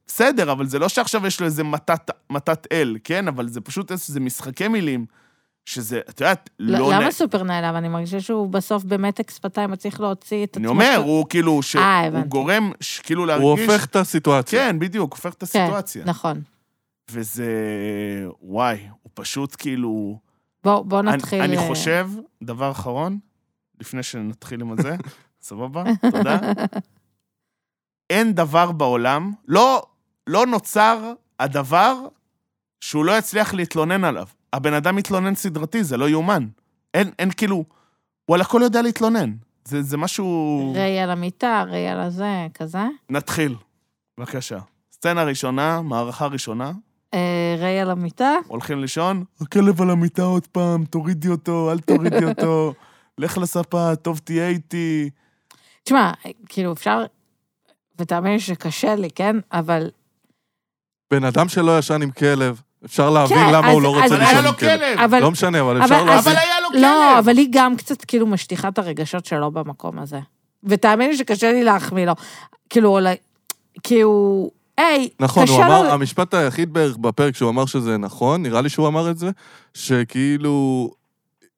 A: בסדר, אבל זה לא שעכשיו יש לו איזה מתת, מתת אל, כן? אבל זה פשוט איזה משחקי מילים, שזה, את יודעת, לא...
B: לא,
A: נע-
B: למה סופר נעלב? אני מרגישה שהוא בסוף במתק שפתיים מצליח להוציא את
A: אני
B: עצמו.
A: אומר, הוא כאילו, ש...
B: אה,
A: הוא
B: הבנתי.
A: גורם ש- כאילו להרגיש...
C: הוא הופך את הסיטואציה.
A: כן, בדיוק, הופך את
B: כן,
A: הסיטואציה.
B: נכון.
A: וזה... וואי, הוא פשוט כאילו...
B: בואו בוא
A: אני-
B: נתחיל...
A: אני
B: אה,
A: חושב, דבר אחרון, לפני שנתחיל עם הזה, סבבה? תודה. אין דבר בעולם, לא, לא נוצר הדבר שהוא לא יצליח להתלונן עליו. הבן אדם מתלונן סדרתי, זה לא יאומן. אין, אין כאילו... הוא על הכל יודע להתלונן. זה, זה משהו...
B: ראי על המיטה, ראי על הזה, כזה.
A: נתחיל. בבקשה. סצנה ראשונה, מערכה ראשונה,
B: אה, ראי על המיטה,
A: הולכים לישון, הכלב על המיטה עוד פעם, תורידי אותו, אל תורידי אותו, לך לספה, טוב תהיה איתי.
B: תשמע, כאילו, אפשר... ותאמין לי שקשה לי, כן? אבל...
C: בן אדם שלא ישן עם כלב, אפשר להבין
B: כן,
C: למה
B: אז-
C: הוא לא רוצה
B: אז-
A: כן. אבל היה
C: לישון
A: לו
C: עם כלב.
A: כלב!
B: אבל...
C: לא משנה, אבל
B: אבל-
C: אפשר
B: אז-
A: אבל
C: להבין.
A: היה לו כלב!
B: לא, אבל היא גם קצת כאילו משטיחה את הרגשות שלו במקום הזה. ותאמין לי שקשה לי להחמיא לו. כאילו, או ל- כי הוא... היי,
C: נכון, הוא
B: קשה לו-
C: אמר, המשפט היחיד בערך בפרק שהוא אמר שזה נכון, נראה לי שהוא אמר את זה, שכאילו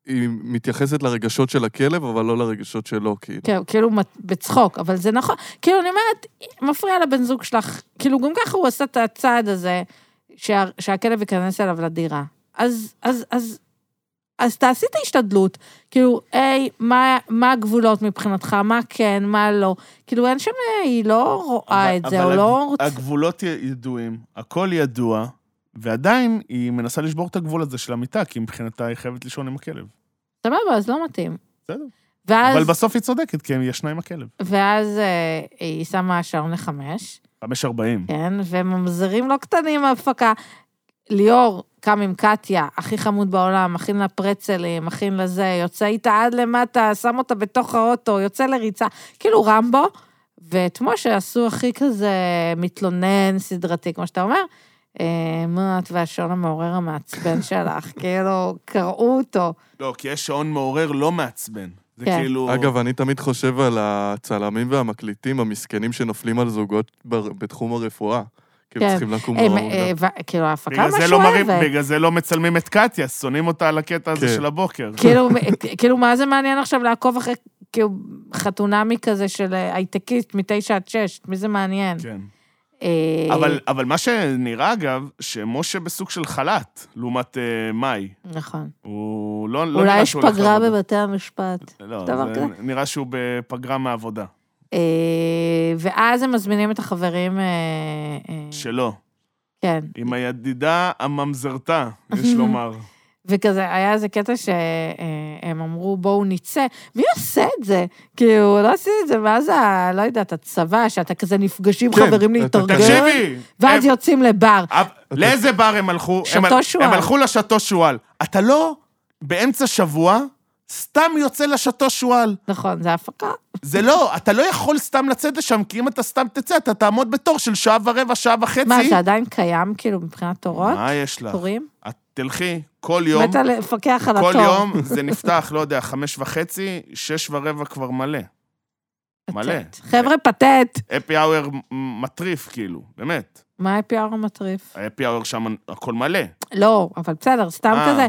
C: היא מתייחסת לרגשות של הכלב, אבל לא לרגשות שלו, כאילו.
B: כן, כאילו מת- בצחוק, אבל זה נכון. כאילו, אני אומרת, מפריע לבן זוג שלך. כאילו, גם ככה הוא עשה את הצעד הזה, שה, שהכלב ייכנס אליו לדירה. אז, אז, אז, אז תעשי את ההשתדלות. כאילו, היי, מה, מה הגבולות מבחינתך, מה כן, מה לא. כאילו, אין שם, היא לא רואה את זה, או
A: אבל
B: לא
A: הג-
B: רוצה...
A: הגבולות י- ידועים, הכל ידוע, ועדיין היא מנסה לשבור את הגבול הזה של המיטה, כי מבחינתה היא חייבת לישון עם הכלב.
B: סבבה, אז לא מתאים.
A: בסדר.
B: ואז,
A: אבל בסוף היא צודקת, כי היא ישנה עם הכלב.
B: ואז אה, היא שמה שעון לחמש.
A: 5.40.
B: כן, וממזרים לא קטנים מההפקה. ליאור קם עם קטיה, הכי חמוד בעולם, מכין לה פרצלים, מכין לזה, יוצא איתה עד למטה, שם אותה בתוך האוטו, יוצא לריצה, כאילו רמבו. ואת משה עשו הכי כזה מתלונן סדרתי, כמו שאתה אומר. אה, מה את והשעון המעורר המעצבן שלך, כאילו, קראו אותו.
A: לא, כי יש שעון מעורר לא מעצבן. זה
B: כן.
A: כאילו...
C: אגב, אני תמיד חושב על הצלמים והמקליטים המסכנים שנופלים על זוגות בר- בתחום הרפואה. כאילו
B: כן.
C: צריכים לקום
B: אה,
C: נורא
B: אה,
C: מוקדם.
B: ו- כאילו, ההפקה
A: בגלל זה,
B: משהו
A: לא מרים,
B: אוהבת.
A: בגלל זה לא מצלמים את קטיה, שונאים אותה על הקטע הזה
C: כן.
A: של הבוקר.
B: כאילו, כאילו, מה זה מעניין עכשיו לעקוב אחרי כאילו, חתונמי כזה של אה, הייטקיסט מתשע עד שש? את מי זה מעניין?
A: כן.
B: אה,
A: אבל, אבל מה שנראה, אגב, שמשה בסוג של חל"ת, לעומת אה, מאי.
B: נכון.
A: הוא לא, לא
B: אולי
A: נראה
B: יש
A: שהוא הולך
B: פגרה
A: לעבודה.
B: בבתי המשפט.
A: לא,
B: דבר
A: זה
B: כזה.
A: נראה שהוא בפגרה מעבודה.
B: אה, ואז הם מזמינים את החברים... אה, אה,
A: שלו.
B: כן.
A: עם הידידה הממזרתה,
B: אה.
A: יש לומר.
B: וכזה, היה איזה קטע שהם אמרו, בואו נצא. מי עושה את זה? כאילו, לא עשיתי את זה מאז ה... לא יודעת, הצבא, שאתה כזה נפגשים
C: כן,
B: חברים
C: אתה-
B: להתארגן,
A: תקשיבי!
B: ואז
A: הם-
B: יוצאים לבר.
A: אב- לאיזה בר הם הלכו? הם
B: שתו
A: הל-
B: שועל.
A: הם הלכו לשתו שועל. אתה לא באמצע שבוע סתם יוצא לשתו שועל.
B: נכון, זה הפקה.
A: זה לא, אתה לא יכול סתם לצאת לשם, כי אם אתה סתם תצא, אתה תעמוד בתור של שעה ורבע, שעה וחצי.
B: מה, זה עדיין קיים, כאילו, מבחינת תורות?
A: מה יש לך?
B: תורים?
A: את תלכי כל יום,
B: מתה לפקח על התור.
A: כל יום זה נפתח, לא יודע, חמש וחצי, שש ורבע כבר מלא.
B: פתט.
A: מלא.
B: חבר'ה, פתט.
A: אפי האואר מטריף, כאילו, באמת.
B: מה ה-PR המטריף?
A: האפי האואר שם הכל מלא.
B: לא, אבל בסדר, סתם
A: אה.
B: כזה.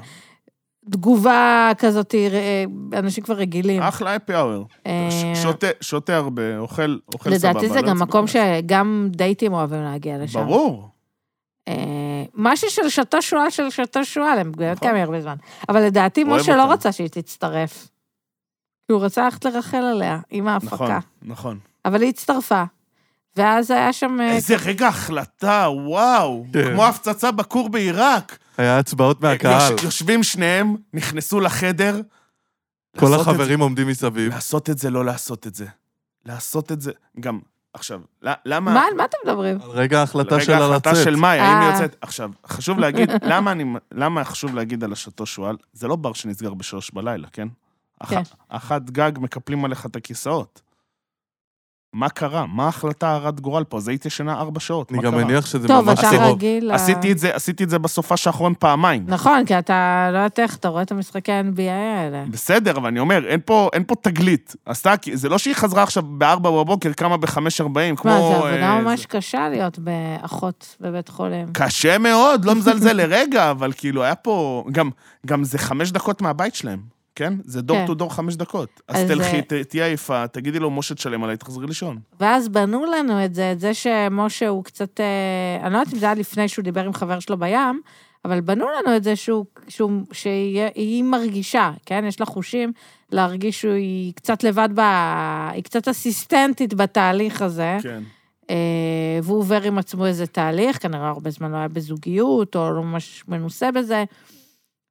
B: תגובה כזאת, אה, אנשים כבר רגילים.
A: אחלה אפי האואר.
B: אה,
A: ש- שותה, שותה הרבה, אוכל, אוכל סבבה.
B: לדעתי זה
A: לא
B: גם
A: יוצא
B: מקום
A: בכלל.
B: שגם דייטים אוהבים להגיע לשם.
A: ברור.
B: אה, משהו של שתו שועל של שתו שועל, הם באמת
A: נכון.
B: קיימים הרבה זמן. אבל לדעתי,
A: אוהב
B: משה לא
A: אותם.
B: רצה שהיא תצטרף. כי הוא רצה ללכת לרחל עליה, עם
A: נכון,
B: ההפקה.
A: נכון.
B: אבל היא הצטרפה. ואז היה שם... אה,
A: איזה רגע החלטה, וואו.
C: כן.
A: כמו הפצצה בכור בעיראק.
C: היה הצבעות מהקהל,
A: יוש- יושבים שניהם, נכנסו לחדר.
C: כל
A: לעשות את
C: החברים עומדים מסביב.
A: זה- לעשות את זה, לא לעשות את זה. לעשות את זה, גם, עכשיו, ל- למה...
B: מה, על מה אתם מדברים?
C: על רגע ההחלטה
A: רגע,
C: שלה
A: ההחלטה
C: לצאת.
A: של מאי, האם
B: אה.
A: היא יוצאת... עכשיו, חשוב להגיד, למה אני... למה חשוב להגיד על השתו שועל? זה לא בר שנסגר בשלוש בלילה, כן? אח-
B: כן.
A: אחת גג מקפלים עליך את הכיסאות. מה קרה? מה ההחלטה הרת גורל פה? אז היית ישנה ארבע שעות,
C: אני
A: מה
C: גם
A: קרה?
C: מניח שזה
B: טוב,
C: ממש לא.
B: אתה
C: קרוב.
B: רגיל... ל-
A: עשיתי את זה, עשיתי את זה בסופש האחרון פעמיים.
B: נכון, כי אתה לא יודעת איך, אתה רואה את המשחקי ה-NBA האלה.
A: בסדר, אבל אני אומר, אין פה, אין פה תגלית. עשתה, כי- זה לא שהיא חזרה עכשיו ב-4 בבוקר, קמה ב-5.40, כמו...
B: מה, זו
A: אה,
B: עבודה
A: זה-
B: ממש קשה להיות באחות בבית חולים.
A: קשה מאוד, לא מזלזל לרגע, אבל כאילו, היה פה... גם, גם זה חמש דקות מהבית שלהם, כן? זה דור
B: כן.
A: טו דור חמש דקות. אז
B: אז,
A: תלכי,
B: אה,
A: ת- תהיי עייפה, תגידי לו, משה, תשלם עליי, תחזרי לישון.
B: ואז בנו לנו את זה, את זה שמשה הוא קצת... אה, אני לא יודעת אם זה היה לפני שהוא דיבר עם חבר שלו בים, אבל בנו לנו את זה שהוא, שהוא, שהיא היא מרגישה, כן? יש לה חושים להרגיש שהיא קצת לבד ב... היא קצת אסיסטנטית בתהליך הזה.
A: כן.
B: אה, והוא עובר עם עצמו איזה תהליך, כנראה הרבה זמן לא היה בזוגיות, או לא ממש מנוסה בזה,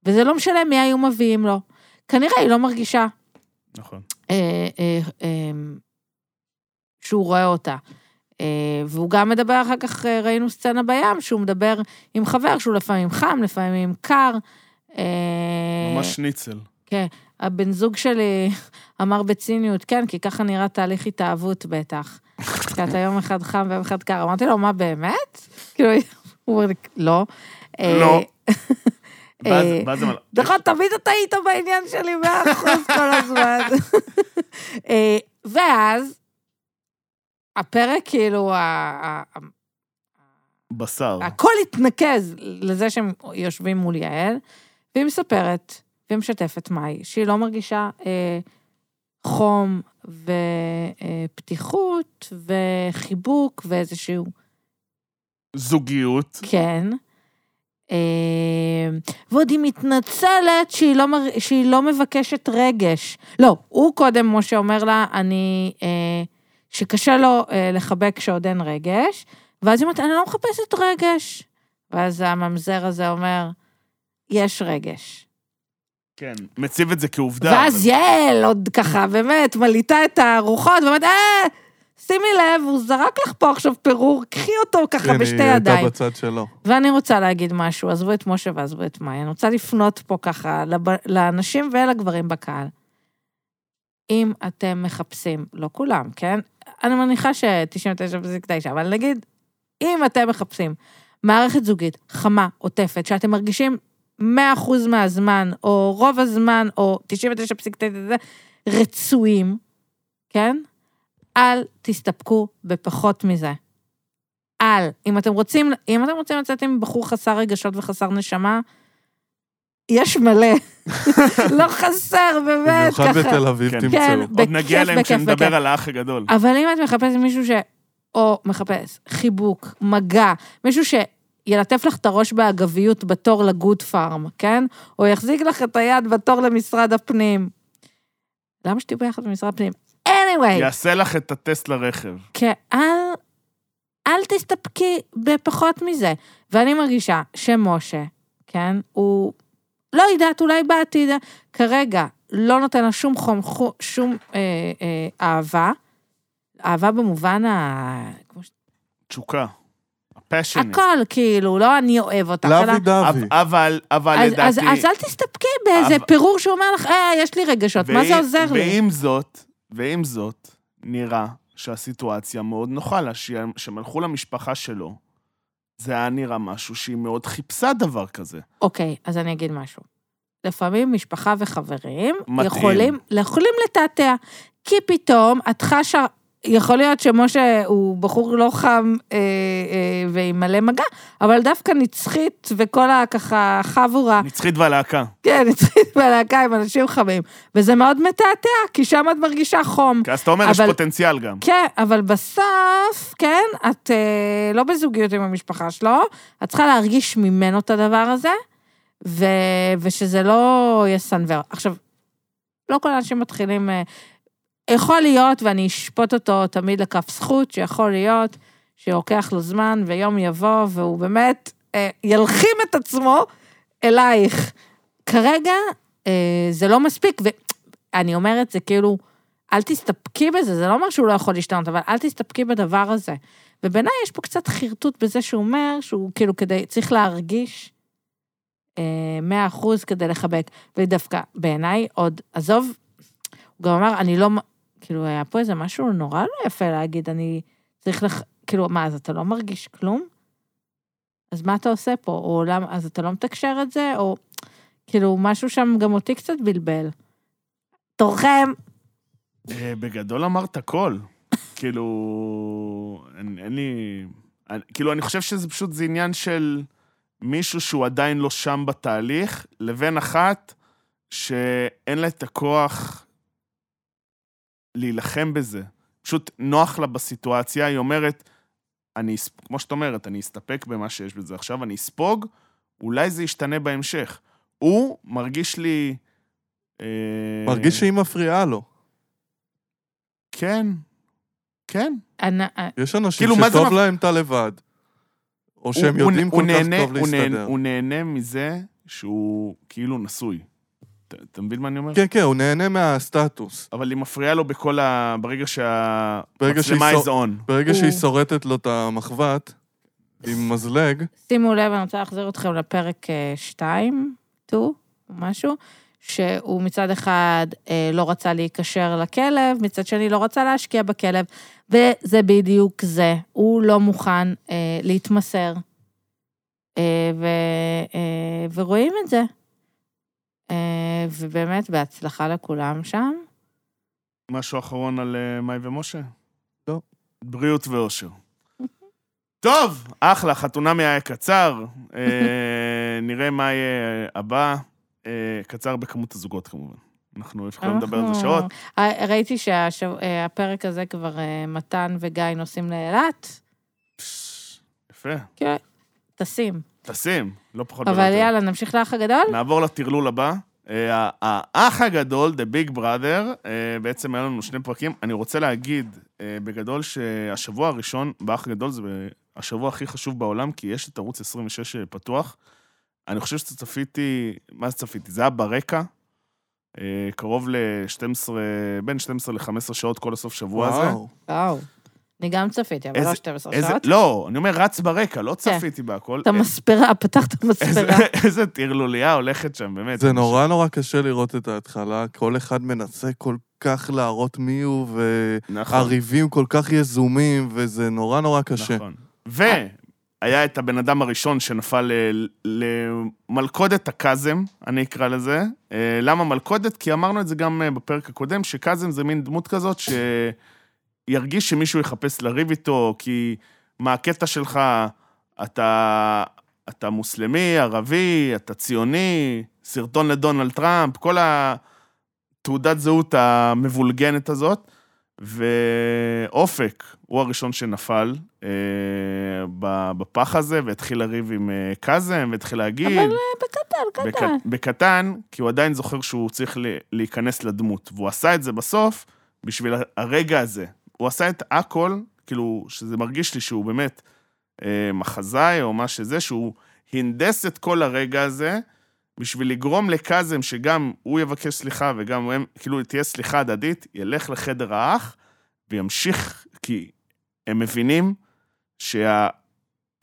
B: וזה לא משנה מי היו מביאים לו. כנראה היא לא מרגישה
A: נכון.
B: אה, אה, אה, שהוא רואה אותה. אה, והוא גם מדבר, אחר כך אה, ראינו סצנה בים, שהוא מדבר עם חבר, שהוא לפעמים חם, לפעמים קר. אה,
A: ממש שניצל.
B: הבן זוג שלי אמר בציניות, כן, כי ככה נראה תהליך התאהבות בטח. כי אתה יום אחד חם ויום אחד קר. אמרתי לו, מה באמת? כאילו, הוא אומר לי, לא. אה,
A: לא.
B: אה,
A: ואז ואז זה... מל-
B: נכון, תמיד אתה היית בעניין שלי מאה אחוז כל הזמן. אה, ואז, הפרק, כאילו, ה- ה- ה-
A: בשר.
B: הכל התנקז לזה שהם יושבים מול יעל, והיא מספרת, והיא משתפת מאי, שהיא לא מרגישה אה, חום ופתיחות וחיבוק ואיזשהו
A: זוגיות.
B: כן. אה, ועוד היא מתנצלת שהיא לא, מר... שהיא לא מבקשת רגש. לא, הוא קודם, משה אומר לה, אני... אה, שקשה לו אה, לחבק כשעוד אין רגש, ואז היא אומרת, אני לא מחפשת רגש. ואז הממזר הזה אומר, יש רגש.
A: כן. מציב את זה כעובדה.
B: ואז
A: אבל-
B: יעל עוד ככה, באמת, מלהיטה את הרוחות, ואומרת, אה, שימי לב, הוא זרק לך פה עכשיו פירור, קחי אותו ככה
C: כן,
B: בשתי
C: היא הייתה
B: ידיים.
C: בצד שלו.
B: ואני רוצה להגיד משהו, עזבו את משה ועזבו את מאי, אני רוצה לפנות פה ככה לב... לאנשים ולגברים בקהל. אם אתם מחפשים, לא כולם, כן? אני מניחה ש-99.9, אבל נגיד, אם אתם מחפשים מערכת זוגית חמה, עוטפת, שאתם מרגישים 100% מהזמן, או רוב הזמן, או 99.9, רצויים, כן? אל תסתפקו בפחות מזה. על. אם אתם רוצים, אם אתם רוצים לצאת עם בחור חסר רגשות וחסר נשמה, יש מלא. לא חסר, באמת,
C: במיוחד
B: ככה.
C: בתל אביב
A: כן.
C: תמצאו.
A: עוד נגיע
B: בכיף,
A: אליהם
B: בכיף, בכיף.
A: כשנדבר על האח הגדול.
B: אבל אם את מחפשת מישהו ש... או מחפש חיבוק, מגע, מישהו שילטף לך את הראש באגביות בתור לגוד פארם, כן? או יחזיק לך את היד בתור למשרד הפנים. למה שתהיו ביחד במשרד הפנים? anyway,
A: יעשה לך את הטסט לרכב.
B: כן, אל, אל תסתפקי בפחות מזה. ואני מרגישה שמשה, כן, הוא, לא יודעת, אולי בעתיד, כרגע לא נותן לה שום חום, חו- שום אה, אה, אהבה. אהבה במובן ה... כמו ש...
A: תשוקה. הפשן.
B: הכל, כאילו, לא אני אוהב אותך,
C: לוי
A: אה,
C: דווי.
A: אבל, אבל
B: אז,
A: לדעתי...
B: אז, אז אל תסתפקי באיזה
A: אבל-
B: פירור שאומר לך, אה, יש לי רגשות, מה זה
A: ואי-
B: עוזר לי?
A: ועם זאת, ועם זאת, נראה שהסיטואציה מאוד נוחה לה, שהיא- שהם הלכו למשפחה שלו. זה היה נראה משהו שהיא מאוד חיפשה דבר כזה.
B: אוקיי, אז אני אגיד משהו. לפעמים משפחה וחברים
A: מתאים.
B: יכולים, יכולים לתעתע, כי פתאום את חשה, יכול להיות שמשה הוא בחור לא חם אה, אה, ועם מלא מגע, אבל דווקא נצחית וכל הככה חבורה,
A: נצחית והלהקה.
B: כן, נצחית בלהקה עם אנשים חמים, וזה מאוד מתעתע, כי שם את מרגישה חום.
A: כי אז אתה אומר, יש
B: אבל-
A: פוטנציאל גם.
B: כן, אבל בסוף, כן, את אה, לא בזוגיות עם המשפחה שלו, את צריכה להרגיש ממנו את הדבר הזה, ו, ושזה לא יסנוור. עכשיו, לא כל האנשים מתחילים... אה, יכול להיות, ואני אשפוט אותו תמיד לכף זכות, שיכול להיות שלוקח לו זמן, ויום יבוא, והוא באמת אה, ילחים את עצמו אלייך. כרגע אה, זה לא מספיק, ואני אומרת, זה כאילו, אל תסתפקי בזה, זה לא אומר שהוא לא יכול להשתנות, אבל אל תסתפקי בדבר הזה. ובעיניי יש פה קצת חרטוט בזה שהוא אומר שהוא כאילו כדי, צריך להרגיש אה, 100% כדי לחבק. ודווקא בעיניי עוד, עזוב, הוא גם אמר, אני לא, מ- כאילו, היה פה איזה משהו נורא לא יפה להגיד, אני צריך לך... כאילו, מה, אז אתה לא מרגיש כלום? אז מה אתה עושה פה? או למה, אז אתה לא מתקשר את זה? או כאילו, משהו שם גם אותי קצת בלבל. תורכם,
A: אה, בגדול אמרת הכל. כאילו, אין, אין לי... אני, כאילו, אני חושב שזה פשוט, זה עניין של מישהו שהוא עדיין לא שם בתהליך, לבין אחת שאין לה את הכוח להילחם בזה. פשוט נוח לה בסיטואציה, היא אומרת, אני, אס- כמו שאת אומרת, אני אסתפק במה שיש בזה עכשיו, אני אספוג, אולי זה ישתנה בהמשך. הוא מרגיש לי... אה,
C: מרגיש שהיא מפריעה לו.
A: כן, כן.
B: אני,
C: יש אנשים
A: כאילו, מה זה
C: שטוב
A: מפ-
C: להם אתה לבד, או שהם
A: הוא-
C: יודעים
A: הוא
C: כל כך
A: נהנה-
C: טוב
A: הוא נהנה-
C: להסתדר.
A: הוא נהנה מזה שהוא כאילו נשוי. ת- אתה מבין מה אני אומר?
C: כן, כן, הוא נהנה מהסטטוס.
A: אבל היא מפריעה לו בכל ה... ברגע שהמצלמה
C: ברגע שהיא
A: is
C: סו-
A: on.
C: ברגע
B: הוא-
C: שהיא שורטת לו את המחבת עם מזלג,
B: שימו לב, אני רוצה להחזיר אתכם לפרק 2, 2, משהו, שהוא מצד אחד אה, לא רצה להיקשר לכלב, מצד שני לא רצה להשקיע בכלב, וזה בדיוק זה. הוא לא מוכן אה, להתמסר. אה, ו, אה, ורואים את זה. אה, ובאמת, בהצלחה לכולם שם.
A: משהו אחרון על אה, מאי ומשה?
C: לא.
A: בריאות ואושר. טוב, אחלה, חתונמי היה קצר. אה, נראה מה יהיה הבא. אה, קצר בכמות הזוגות, כמובן. אנחנו יכולים לדבר על זה
B: אנחנו-
A: שעות.
B: אה, ראיתי שהפרק הזה כבר אה, מתן וגיא נוסעים לאילת.
A: פש, יפה.
B: כן, טסים.
A: טסים, לא פחות ולא
B: אבל
A: יותר.
B: יאללה, נמשיך לאח הגדול?
A: נעבור לטרלול הבא. אה, ה- האח הגדול, The Big Brother, אה, בעצם היה לנו שני פרקים. אני רוצה להגיד אה, בגדול שהשבוע הראשון באח הגדול זה ב- השבוע הכי חשוב בעולם, כי יש את ערוץ 26 פתוח. אני חושב שצפיתי, מה זה צפיתי? זה היה ברקע, אה, קרוב ל-12, בין 12 ל-15 שעות כל הסוף שבוע הזה.
C: וואו.
B: וואו. אני גם צפיתי, אבל
A: איזה-
B: לא 12
A: איזה-
B: שעות.
A: לא, אני אומר, רץ ברקע, לא צפיתי בהכל.
B: את המספרה, פתחת את
A: איזה-
B: המספרה.
A: איזה טרלוליה הולכת שם, באמת.
C: זה נורא נורא קשה לראות את ההתחלה, כל אחד מנסה כל כך להראות מי הוא,
A: נכון.
C: והריבים כל כך יזומים, וזה נורא נורא קשה.
A: נכון. והיה את הבן אדם הראשון שנפל אה, ל- למלכודת הקאזם, אני אקרא לזה. אה, למה מלכודת? כי אמרנו את זה גם אה, בפרק הקודם, שקאזם זה מין דמות כזאת שירגיש שמישהו יחפש לריב איתו, כי מה הקטע שלך, אתה, אתה מוסלמי, ערבי, אתה ציוני, סרטון לדונלד טראמפ, כל התעודת זהות המבולגנת הזאת. ואופק הוא הראשון שנפל אה, ב- בפח הזה, והתחיל לריב עם אה, קאזם, והתחיל להגיד...
B: אבל אה, בקטן,
A: בק-
B: קטן.
A: בקטן, כי הוא עדיין זוכר שהוא צריך ל- להיכנס לדמות. והוא עשה את זה בסוף בשביל הרגע הזה. הוא עשה את הכל, כאילו, שזה מרגיש לי שהוא באמת אה, מחזאי או מה שזה, שהוא הנדס את כל הרגע הזה בשביל לגרום לקאזם שגם הוא יבקש סליחה וגם הם, כאילו, תהיה סליחה הדדית, ילך לחדר האח וימשיך, כי הם מבינים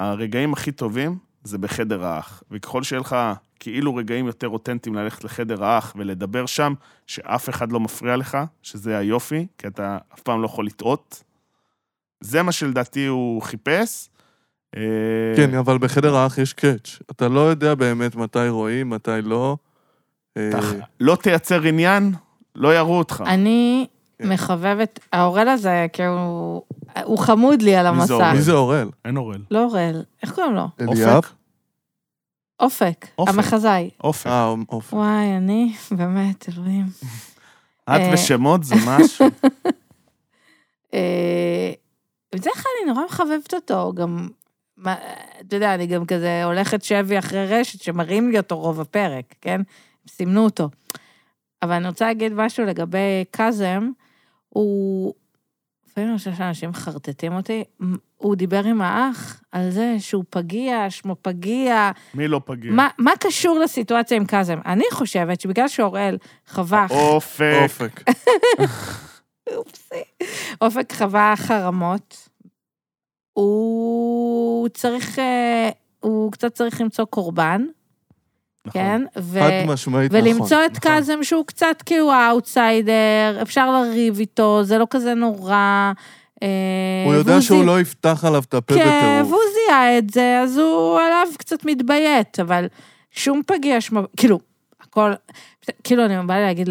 A: שהרגעים הכי טובים זה בחדר האח. וככל שיהיה לך כאילו רגעים יותר אותנטיים ללכת לחדר האח ולדבר שם, שאף אחד לא מפריע לך, שזה היופי, כי אתה אף פעם לא יכול לטעות. זה מה שלדעתי הוא חיפש. אה,
C: כן, אבל בחדר האח יש קאץ'. אתה לא יודע באמת מתי רואים, מתי לא. אה,
A: אתה לא תייצר עניין, לא יראו אותך.
B: אני
C: כן.
B: מחבבת, האורל הזה, כאילו, הוא חמוד לי על
A: מי זה
B: המסך.
A: אורל?
C: מי זה אורל?
A: אין אורל.
B: לא אורל, איך קוראים לו?
C: אליאב?
A: אופק?
B: אופק,
A: אופק.
B: המחזאי.
A: אופק.
C: אה, אופק.
B: וואי, אני, באמת, אלוהים.
A: את
B: אה.
A: ושמות זה משהו.
B: אה, בדרך כלל אני נורא מחבבת אותו, גם, מה, אתה יודע, אני גם כזה הולכת שבי אחרי רשת שמראים לי אותו רוב הפרק, כן? סימנו אותו. אבל אני רוצה להגיד משהו לגבי קאזם, הוא... לפעמים אני חושבת שאנשים מחרטטים אותי, הוא דיבר עם האח על זה שהוא פגיע, שמו פגיע.
A: מי לא פגיע?
B: מה, מה קשור לסיטואציה עם קאזם? אני חושבת שבגלל שאוראל חווה
A: אופק.
C: אופק.
B: אופסי. אופק חווה חרמות. הוא צריך, אה, הוא קצת צריך למצוא קורבן, כן? ו...
C: נכון. חד משמעית נכון.
B: ולמצוא את
C: נכון.
B: קאזם שהוא קצת כאילו האאוטסיידר, אפשר לריב איתו, זה לא כזה נורא. אה,
C: הוא יודע
B: והוא
C: שהוא
B: זי-
C: לא יפתח עליו את הפה
B: כן,
C: בטירוף.
B: והוא זיהה את זה, אז הוא עליו קצת מתביית, אבל שום פגיע שמו... כאילו, הכל... כאילו, אני באה להגיד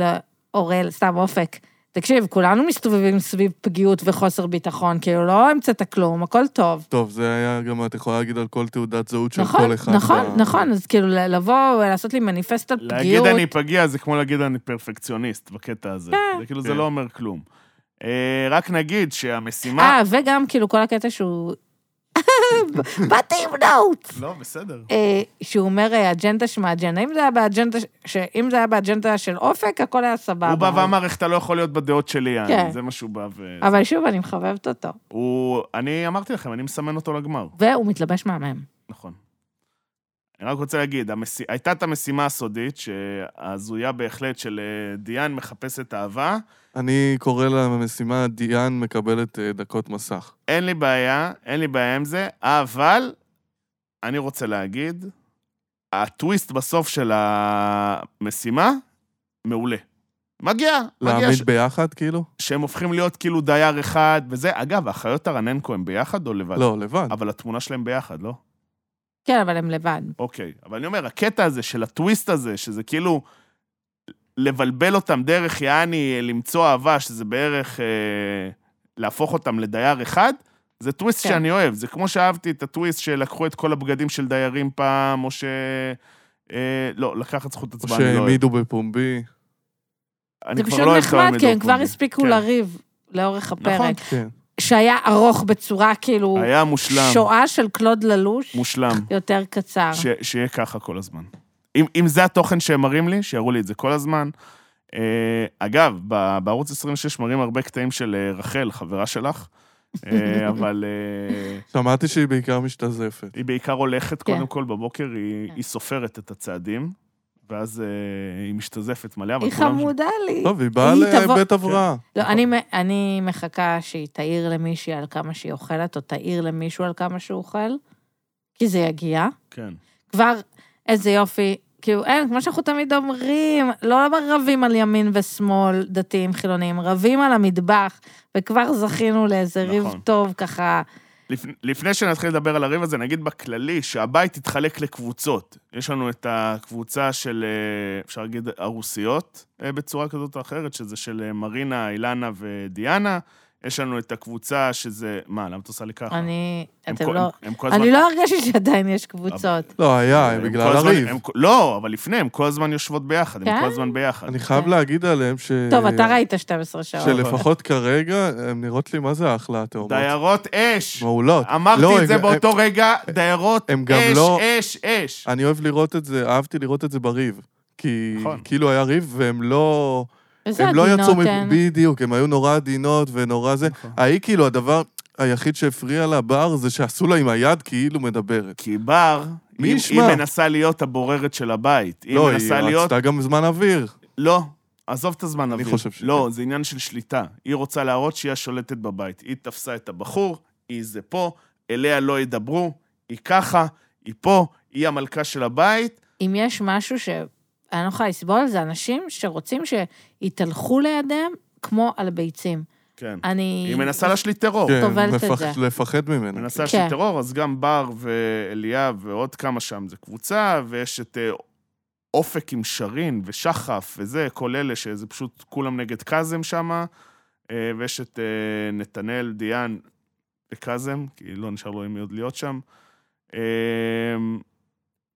B: לאורל, סתם אופק, תקשיב, כולנו מסתובבים סביב פגיעות וחוסר ביטחון, כאילו, לא המצאת כלום, הכל טוב.
C: טוב, זה היה גם, את יכולה להגיד על כל תעודת זהות של
B: נכון,
C: כל אחד.
B: נכון,
C: ב-
B: נכון, אז כאילו, לבוא, לעשות לי מניפסט על
A: להגיד
B: פגיעות.
A: אני פגיע זה כמו להגיד אני פרפקציוניסט בקטע הזה.
B: אה.
A: זה כאילו זה
C: כן.
A: לא אומר כלום. אה, רק נגיד שהמשימה...
B: אה, וגם כאילו כל הקטע שהוא... באתי עם נוט!
A: לא, בסדר.
B: אה, שהוא אומר אה, אג'נדה שמאג'נדה. אם זה היה באג'נדה, ש- שאם זה היה באג'נדה של אופק, הכל היה סבבה.
A: הוא בא ואמר איך אתה לא יכול להיות בדעות שלי, יעני.
B: כן.
A: זה מה שהוא בא ו...
B: אבל שוב, אני מחבבת אותו.
A: הוא... אני אמרתי לכם, אני מסמן אותו לגמר.
B: והוא מתלבש מהמם.
A: נכון. אני רק רוצה להגיד, המס... הייתה את המשימה הסודית, שההזויה בהחלט של אה, דיאן מחפשת אהבה.
C: אני קורא לה במשימה, דיאן מקבלת אה, דקות מסך.
A: אין לי בעיה, אין לי בעיה עם זה, אבל אני רוצה להגיד, הטוויסט בסוף של המשימה, מעולה. מגיע, מגיע ש...
C: להעמיד ביחד, כאילו?
A: שהם הופכים להיות כאילו דייר אחד וזה. אגב, האחיות הרננקו הם ביחד או לבד?
C: לא, לבד.
A: אבל התמונה שלהם ביחד, לא?
B: כן, אבל הם לבד.
A: אוקיי. אבל אני אומר, הקטע הזה של הטוויסט הזה, שזה כאילו לבלבל אותם דרך יעני אה, למצוא אהבה, שזה בערך אה, להפוך אותם לדייר אחד, זה טוויסט
B: כן.
A: שאני אוהב. זה כמו שאהבתי את הטוויסט שלקחו את כל הבגדים של דיירים פעם, או ש... אה, לא, לקח את זכות
C: או
A: הצבעה, אני לא אוהב.
C: שהעמידו בפומבי.
A: אני
B: זה
A: כבר
B: פשוט
A: לא אוהב את
B: נחמד, כי הם
A: העמידות
B: כבר
A: מולי.
B: הספיקו
A: כן.
B: לריב לאורך
A: נכון.
B: הפרק.
C: כן.
B: שהיה ארוך בצורה כאילו...
A: היה מושלם,
B: שואה של קלוד ללוש,
A: מושלם.
B: יותר קצר.
A: ש, שיהיה ככה כל הזמן. אם, אם זה התוכן שהם מראים לי, שיראו לי את זה כל הזמן. אה, אגב, ב, בערוץ 26 מראים הרבה קטעים של אה, רחל, חברה שלך, אה, אבל אה,
C: שמעתי שהיא בעיקר משתזפת.
A: היא בעיקר הולכת,
B: כן.
A: קודם כל בבוקר, היא,
B: כן.
A: היא סופרת את הצעדים, ואז אה, היא משתזפת מלא, אבל לא.
B: היא חמודה לי.
C: טוב, היא באה
B: היא תבוא-
C: לבית הבראה.
A: כן.
B: לא, אני, מ- אני מחכה שהיא תעיר למישהי על כמה שהיא אוכלת, או תעיר למישהו על כמה שהוא אוכל, כי זה יגיע.
A: כן.
B: כבר, איזה יופי. כאילו, אין, כמו שאנחנו תמיד אומרים, לא רבים על ימין ושמאל, דתיים, חילונים, רבים על המטבח, וכבר זכינו לאיזה ריב
A: נכון.
B: טוב ככה.
A: לפ... לפני שנתחיל לדבר על הריב הזה, נגיד בכללי שהבית התחלק לקבוצות. יש לנו את הקבוצה של, אה, אפשר להגיד, הרוסיות, אה, בצורה כזאת או אחרת, שזה של אה, מרינה, אילנה ודיאנה. יש לנו את הקבוצה שזה... מה, למה את עושה לי ככה?
B: אני,
A: נכון. הם
B: אתם
A: כל-
B: לא...
A: הם- הם כל הזמן- אה,
B: אני לא הרגשתי שעדיין יש קבוצות.
C: לא, היה,
A: הם
C: בגלל
A: כל הזמן-
C: הריב.
A: הם כל- לא, אבל לפני, הם כל הזמן יושבות ביחד, הם
B: כן?
A: כל הזמן ביחד.
C: אני חייב
B: כן.
C: להגיד עליהם ש...
B: טוב, אתה ראית 12 שעות.
C: שלפחות כרגע, הן נראות לי מה זה אחלה התאומות.
A: דיירות אש!
C: מעולות.
A: אמרתי
C: לא,
A: את זה
C: הם-
A: באותו רגע, דיירות
C: הם גם
A: אש,
C: לא-
A: אש, אש.
C: אני אוהב לראות את זה, אהבתי לראות את זה בריב. כי
A: נכון.
C: כאילו היה ריב, והם לא...
B: איזה
C: הם לא יצאו...
B: עדינות אה?
C: מ-
B: הן.
C: בדיוק, הם היו נורא עדינות ונורא זה.
A: נכון.
C: ההיא כאילו, הדבר היחיד שהפריע לה בר זה שעשו לה עם היד כאילו מדברת.
A: כי בר,
C: מי
A: היא
C: ישמע?
A: היא מנסה להיות הבוררת של הבית. היא
C: לא, היא
A: מנסה להיות...
C: רצתה גם זמן אוויר.
A: לא, עזוב את הזמן אוויר.
C: חושב שכן.
A: לא, זה עניין של שליטה. היא רוצה להראות שהיא השולטת בבית. היא תפסה את הבחור, היא זה פה, אליה לא ידברו, היא ככה, היא פה, היא המלכה של הבית.
B: אם יש משהו שאני לא יכולה לסבול, זה אנשים שרוצים שיתהלכו לידיהם כמו על ביצים.
A: כן.
B: אני...
A: היא מנסה להשליט טרור.
C: כן,
B: סובלת את
C: לפח-
B: זה.
C: לפחד ממנה.
A: מנסה להשליט
B: כן.
A: טרור, אז גם בר ואליה ועוד כמה שם זה קבוצה, ויש את אה, אופק עם שרין ושחף וזה, כל אלה שזה פשוט כולם נגד קאזם שמה, אה, ויש את אה, נתנאל, דיאן וקאזם, כי לא נשאר לו עם מי עוד להיות שם. אה,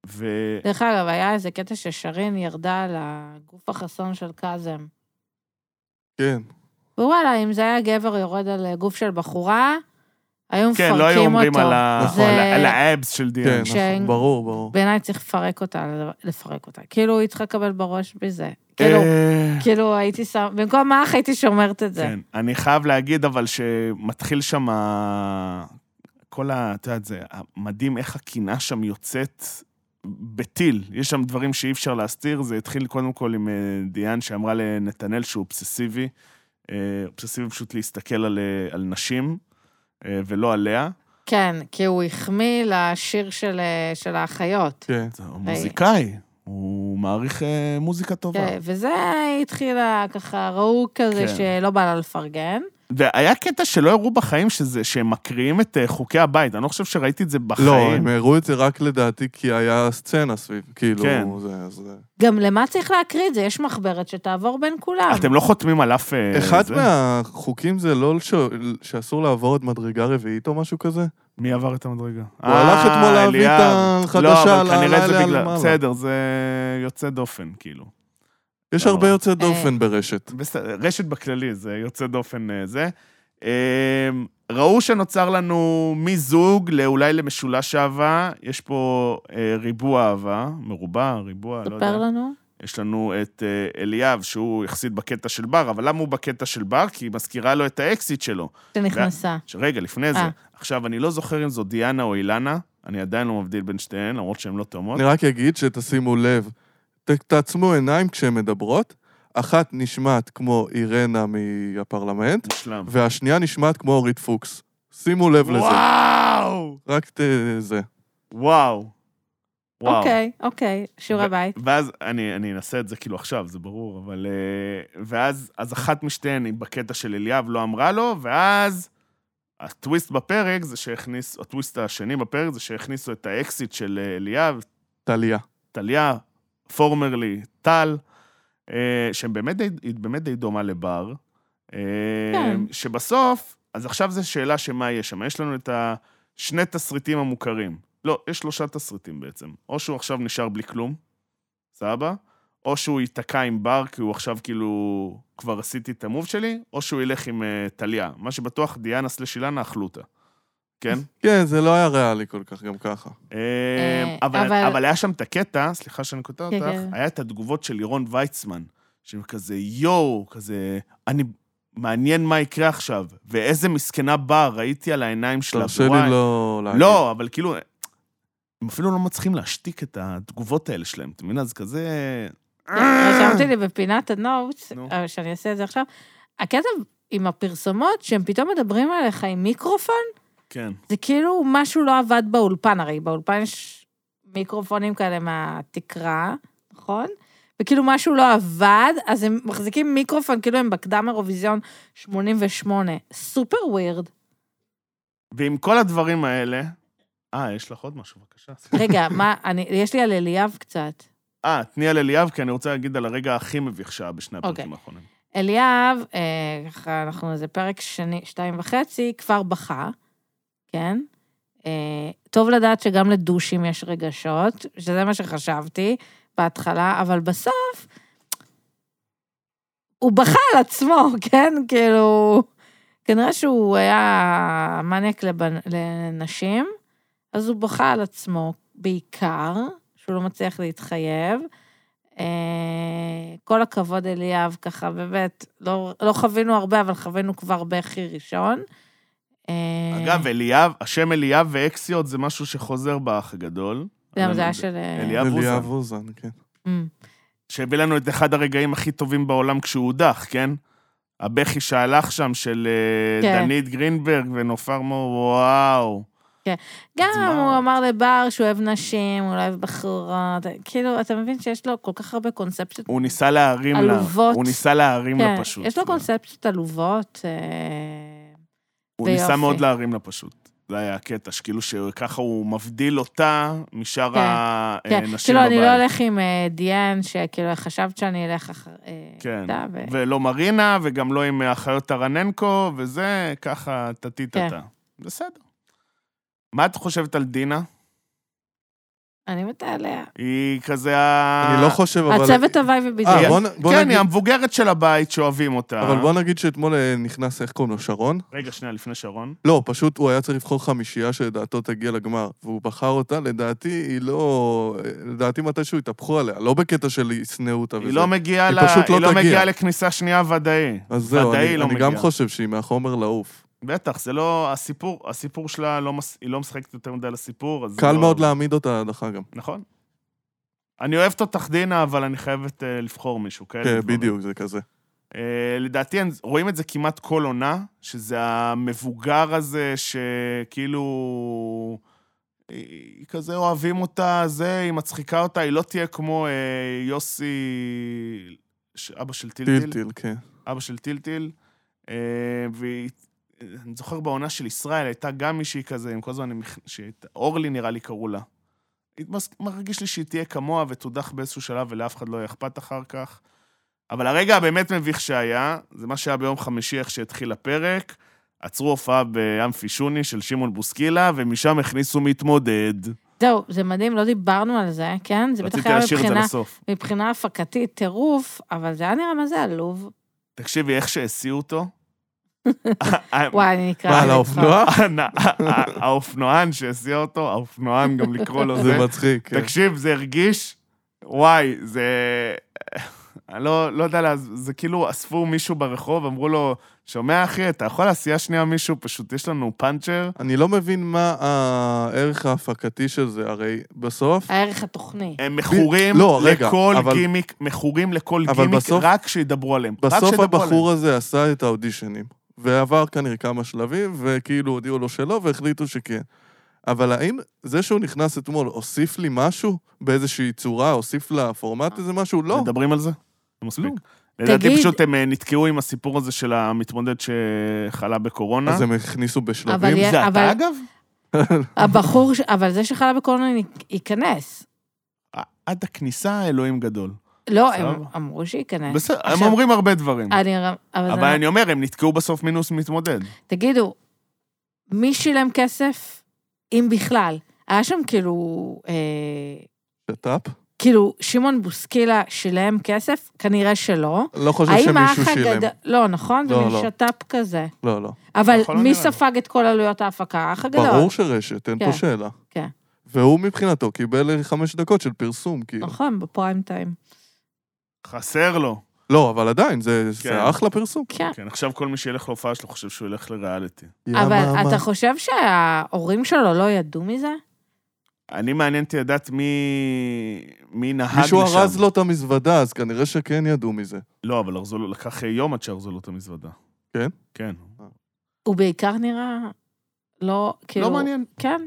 A: ו...
B: דרך אגב, היה איזה קטע ששרין ירדה על הגוף החסון של קאזם.
C: כן.
B: ווואלה, אם זה היה גבר יורד על אה, גוף של בחורה, היו מפרקים
A: כן,
B: אותו.
A: לא היו אומרים על ה-
C: נכון.
A: על ה- על האבס של
C: כן,
A: דיאן.
B: שאין-
C: נכון, ברור, ברור.
B: בעיניי צריך לפרק אותה, לפרק אותה. כאילו, היא צריכה לקבל בראש בזה. כאילו,
A: אה,
B: כאילו, הייתי שם, במקום מאח הייתי שומרת את זה.
A: כן, אני חייב להגיד, אבל שמתחיל שם ה- כל ה... את יודעת, זה מדהים איך הקנאה שם יוצאת בטיל. יש שם דברים שאי אפשר להסתיר. זה התחיל קודם כל עם אה, דיאן, שאמרה לנתנאל שהוא אובססיבי. אה, אובססיבי פשוט להסתכל על, אה, על נשים, אה, ולא עליה.
B: כן, כי הוא החמיא לשיר של, אה, של האחיות.
C: כן.
A: זה מוזיקאי. הוא מעריך אה, מוזיקה טובה.
B: כן, וזה התחילה ככה, ראו כזה
A: כן.
B: שלא בא לה לפרגן.
A: והיה קטע שלא הראו בחיים שזה, שהם מקריאים את אה, חוקי הבית, אני לא חושב שראיתי את זה בחיים.
C: לא, הם הראו את זה רק לדעתי כי היה סצנה סביב, כאילו,
A: כן.
C: זה... אז, אה,
B: גם למה צריך להקריא את זה? יש מחברת שתעבור בין כולם.
A: אתם לא חותמים על אף... אה,
C: אחד
A: זה?
C: מהחוקים זה לא ש... שאסור לעבור את מדרגה רביעית או משהו כזה?
A: מי עבר את המדרגה?
C: הוא הלך אתמול
A: אה,
C: להביא את
A: אליאב.
C: החדשה
A: לא, אבל כנראה זה
C: ללילה
A: בגלל...
C: למעלה.
A: בסדר, זה יוצא דופן, כאילו.
C: יש
A: לא.
C: הרבה יוצאי דופן ברשת.
A: בסדר, רשת בכללי, זה יוצא דופן אה, זה. אה, ראו שנוצר לנו מזוג לאולי למשולש אהבה, יש פה אה, ריבוע אהבה, מרובע, ריבוע, לא יודע.
B: ספר לנו.
A: יש לנו את אה, אליאב, שהוא יחסית בקטע של בר, אבל למה הוא בקטע של בר? כי היא מזכירה לו את האקסיט שלו.
B: שנכנסה.
A: רגע, לפני זה.
B: אה.
A: עכשיו, אני לא זוכר אם זו דיאנה או אילנה, אני עדיין לא מבדיל בין שתיהן, למרות שהן לא תאומות.
C: אני רק אגיד שתשימו לב, ת- תעצמו עיניים כשהן מדברות, אחת נשמעת כמו אירנה מהפרלמנט,
A: מושלם.
C: והשנייה נשמעת כמו אורית פוקס. שימו לב לזה.
A: וואו!
C: רק ת... זה.
A: וואו. וואו.
B: אוקיי, אוקיי, שיעורי
A: ו-
B: בית.
A: ואז אני, אני אנסה את זה כאילו עכשיו, זה ברור, אבל... אה, ואז אז אחת משתיהן היא בקטע של אליאב לא אמרה לו, ואז הטוויסט בפרק זה שהכניס, הטוויסט השני בפרק זה שהכניסו את האקסיט של אה, אליאב,
C: טליה.
A: טליה, פורמרלי, טל, אה, שהם באמת די, היא באמת די דומה לבר. אה,
B: כן.
A: שבסוף, אז עכשיו זו שאלה שמה יש שם. יש לנו את השני תסריטים המוכרים. לא, יש שלושה תסריטים בעצם. או שהוא עכשיו נשאר בלי כלום, סבבה? או שהוא ייתקע עם בר, כי הוא עכשיו כאילו, כבר עשיתי את המוב שלי, או שהוא ילך עם אה, טליה. מה שבטוח, דיאנה סלש אילנה אכלו אותה. כן?
C: כן, זה לא היה ריאלי כל כך גם ככה.
A: אה,
B: אה,
A: אבל,
B: אבל-
A: אבל היה שם את הקטע, סליחה שאני קוטע
B: כן,
A: אותך,
B: כן.
A: היה את התגובות של לירון ויצמן, שהם כזה יואו, כזה, אני, מעניין מה יקרה עכשיו, ואיזה מסכנה בר, ראיתי על העיניים שלה.
C: תרשה
A: וואי.
C: לי לא להגיד.
A: לא, אבל כאילו, הם אפילו לא מצליחים להשתיק את התגובות האלה שלהם, אתה מבין? אז כזה...
B: כן, רשמתי לי בפינת הנוטס,
A: אה. נו.
B: אבל שאני אעשה את זה עכשיו. הקטע עם הפרסומות, שהם פתאום מדברים עליך עם מיקרופון,
A: כן,
B: זה כאילו משהו לא עבד באולפן, הרי באולפן יש מיקרופונים כאלה מהתקרה, נכון? וכאילו משהו לא עבד, אז הם מחזיקים מיקרופון, כאילו הם בקדם אירוויזיון 88. סופר ווירד.
A: ועם כל הדברים האלה... אה, יש לך עוד משהו, בבקשה.
B: רגע, מה, אני, יש לי על אליאב קצת.
A: אה, תני על אליאב, כי אני רוצה להגיד על הרגע הכי מביך שהיה בשני הפרקים
B: אוקיי.
A: האחרונים.
B: אליאב, אה, ככה אנחנו איזה פרק שני, שתיים וחצי, כבר בכה, כן? אה, טוב לדעת שגם לדושים יש רגשות, שזה מה שחשבתי בהתחלה, אבל בסוף, הוא בכה על עצמו, כן? כאילו, כנראה שהוא היה מניאק לבנ... לנשים, אז הוא בכה על עצמו בעיקר, שהוא לא מצליח להתחייב. אה, כל הכבוד אליאב, ככה, באמת, לא, לא חווינו הרבה, אבל חווינו כבר בכי ראשון. אה,
A: אגב, אליאב, השם אליאב ואקסיות זה משהו שחוזר באח הגדול.
B: גם זה היה של... אה,
A: אליאב
C: אליה
A: אוזן,
C: ווזן, כן.
B: אמ,
A: שהביא לנו את אחד הרגעים הכי טובים בעולם כשהוא הודח, כן? הבכי שהלך שם של אה,
B: כן.
A: דנית גרינברג ונופר מור, וואו.
B: גם
A: מה?
B: הוא אמר לבר שהוא אוהב נשים, הוא לא אוהב בחורות, כאילו, אתה מבין שיש לו כל כך הרבה קונספציות
A: הוא ניסה להרים לה.
B: עלובות.
A: הוא ניסה להרים לה
B: כן,
A: פשוט.
B: יש לו קונספציות עלובות. אה,
A: הוא ניסה
B: ויופי.
A: מאוד להרים לה פשוט. זה היה הקטע, שכאילו שככה הוא מבדיל אותה משאר
B: כן, כן,
A: הנשים
B: כאילו, אני לא
A: אה, בבית.
B: אלך עם אה, דיאן, שכאילו, חשבת שאני אלך אחר... אה,
A: כן,
B: אתה, ו-
A: ולא מרינה, וגם לא עם אחיות טרננקו, וזה, ככה טטיטטה. בסדר. מה את חושבת על דינה?
B: אני מתה עליה.
A: היא כזה ה...
C: אני לא חושב, אבל...
B: הצוות הוואי ובידור.
C: אה, בוא נ- בוא
A: כן,
C: נגיד-
A: היא המבוגרת של הבית שאוהבים אותה.
C: אבל בוא נגיד שאתמול אה, נכנס, איך קוראים לו, שרון?
A: רגע, שנייה, לפני שרון.
C: לא, פשוט הוא היה צריך לבחור חמישייה שלדעתו תגיע לגמר, והוא בחר אותה, לדעתי היא לא... לדעתי מתישהו התהפכו עליה, לא בקטע של ישנאו אותה
A: היא לא מגיעה ל...
C: היא פשוט לא
A: היא לא
C: תגיע.
A: מגיעה לכניסה שנייה ודאי.
C: אז זהו,
A: ודאי
C: אני,
A: לא
C: אני
A: מגיעה.
C: גם חושב שהיא מהחומר לעוף.
A: בטח, זה לא... הסיפור, הסיפור שלה, לא מס... היא לא משחקת יותר מדי לסיפור, אז...
C: קל
A: לא...
C: מאוד להעמיד אותה הדחה גם.
A: נכון. אני אוהבת אותך, דינה, אבל אני חייבת אה, לבחור מישהו, כן?
C: כן, בדיוק, זה כזה.
A: אה, לדעתי הם- רואים את זה כמעט כל עונה, שזה המבוגר הזה שכאילו היא- היא אה, כזה אוהבים אותה, זה, היא מצחיקה אותה, היא לא תהיה כמו אה, יוסי, ש- אבא של טילטיל.
C: טילטיל, כן.
A: אבא של טילטיל, אה, והיא... אני זוכר בעונה של ישראל, הייתה גם מישהי כזה, עם כל הזמן, עם- שהייתה- אורלי נראה לי קראו לה. היא מס- מרגיש לי שהיא תהיה כמוה ותודח באיזשהו שלב ולאף אחד לא יהיה אכפת אחר כך. אבל הרגע הבאמת מביך שהיה, זה מה שהיה ביום חמישי, איך שהתחיל הפרק. עצרו הופעה באמפי שוני של שמעון בוסקילה, ומשם הכניסו מתמודד.
B: זהו, זה מדהים, לא דיברנו על זה, כן? זה בטח
A: רציתי
B: היה
A: להשאיר את זה
B: מבחינה,
A: לסוף.
B: מבחינה הפקתית טירוף, אבל זה היה נראה מה זה עלוב.
A: תקשיבי, איך שהסיעו אותו. אה,
B: וואי, אני נקרע.
C: מה, על
B: לזה
A: לא?
C: האופנוע?
A: הנ- הא- האופנוען שהסיע אותו, האופנוען גם לקרוא לו
C: זה
A: זה.
C: מצחיק. כן.
A: תקשיב, זה הרגיש, וואי, זה... אני לא, לא יודע, לה- זה כאילו אספו מישהו ברחוב, אמרו לו, שומע אחי, אתה יכול להסיע שנייה מישהו? פשוט יש לנו פאנצ'ר.
C: אני לא מבין מה הערך ההפקתי של זה, הרי בסוף...
B: כבר. הערך התוכני.
A: הם מכורים
C: לא, רגע,
A: לכל
C: אבל-
A: גימיק, מכורים לכל
C: אבל
A: גימיק,
C: בסוף-
A: רק שידברו עליהם. רק
C: בסוף
A: שידברו עליהם.
C: הבחור הזה עשה את האודישנים, ועבר כנראה כמה שלבים, וכאילו הודיעו לו שלא, והחליטו שכן. אבל האם זה שהוא נכנס אתמול הוסיף לי משהו באיזושהי צורה, הוסיף
B: אה,
C: לפורמט איזה משהו? לא.
A: מדברים על זה? זה מספיק.
C: כלום.
A: לדעתי
B: תגיד-
A: פשוט הם אה, נתקעו עם הסיפור הזה של המתמודד שחלה בקורונה.
C: אז הם הכניסו
B: אבל
C: בשלבים.
B: יה-
A: זה אתה אגב?
B: הבחור, ש- אבל זה שחלה בקורונה י- ייכנס.
A: עד הכניסה, אלוהים גדול.
B: לא, הם
A: סבבה.
B: אמרו שייכנס.
A: בסדר, הם
B: אה. עכשיו- אה, לא,
A: אומרים הרבה דברים.
B: אני... ר- אבל זה-
A: אבל אני אומר, הם נתקעו בסוף מינוס מתמודד.
B: תגידו, מי שילם כסף, אם בכלל? היה שם כאילו, אה,
C: שת"פ?
B: כאילו, שמעון בוסקילה שילם כסף? כנראה שלא.
C: לא חושב
B: האם
C: שמישהו
B: האח
C: שילם.
B: הגדול... לא, נכון? זה
C: לא,
B: מין
C: לא.
B: שת"פ כזה.
C: לא, לא.
B: אבל
A: יכול להיות.
B: מי ספג את כל עלויות ההפקה? האח הגדול.
C: ברור שרשת, אין
B: כן.
C: פה שאלה.
B: כן.
C: והוא מבחינתו קיבל חמש דקות של פרסום, כאילו.
B: נכון, בפריים טיים.
A: חסר לו.
C: לא, אבל עדיין, זה
A: כן.
C: זה אחלה פרסום.
B: כן.
A: כן, עכשיו כל מי שילך להופעה שלו חושב שהוא ילך לריאליטי.
C: ימה,
B: אבל
C: מה.
B: אתה חושב שההורים שלו לא ידעו מזה?
A: אני מעניין אותי לדעת מי... מי נהג לשם.
C: מישהו ארז לו את המזוודה, אז כנראה שכן ידעו מזה.
A: לא, אבל ארזו לו, לקח יום עד שארזו לו את המזוודה.
C: כן?
A: כן.
B: הוא בעיקר נראה לא, כאילו...
A: לא מעניין.
B: כן.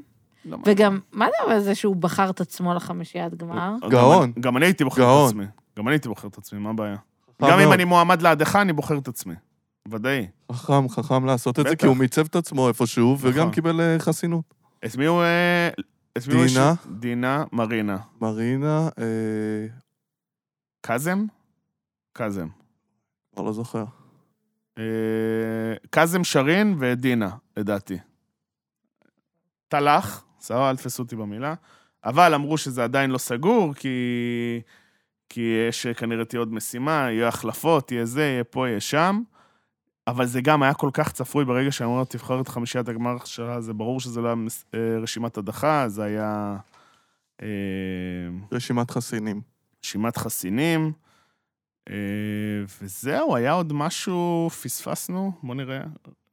A: לא מעניין.
B: וגם, מה זה אבל זה שהוא בחר את עצמו לחמישיית גמר?
A: גם-
C: גאון.
A: גם אני הייתי בוחר את
C: גאון. לא.
A: עצמי. גם אני הייתי בוחר את עצמי, מה הבעיה?
C: חכם
A: גם אם
C: מאוד.
A: אני מועמד להדחה, אני בוחר את עצמי. ודאי.
C: חכם, חכם לעשות את זה,
A: בטח.
C: כי הוא מיצב את עצמו איפשהו,
A: נכון.
C: וגם קיבל אה, חסינות.
A: את מי הוא... אה, את מי הוא
C: דינה?
A: הש- דינה מרינה.
C: מרינה, אה...
A: קאזם? קאזם.
C: כבר לא זוכר.
A: אה, קאזם שרין ודינה, לדעתי. תל"ח, סבבה, אל תפסו אותי במילה. אבל אמרו שזה עדיין לא סגור, כי... כי יש כנראה תהיה עוד משימה, יהיו החלפות, יהיה זה, יהיה פה, יהיה שם. אבל זה גם היה כל כך צפוי ברגע שאמרו לו, תבחר את חמישיית הגמר שלה, זה ברור שזה לא היה מס- אה, רשימת הדחה, זה היה אה,
C: רשימת חסינים.
A: רשימת חסינים. אה, וזהו, היה עוד משהו, פספסנו, בוא נראה.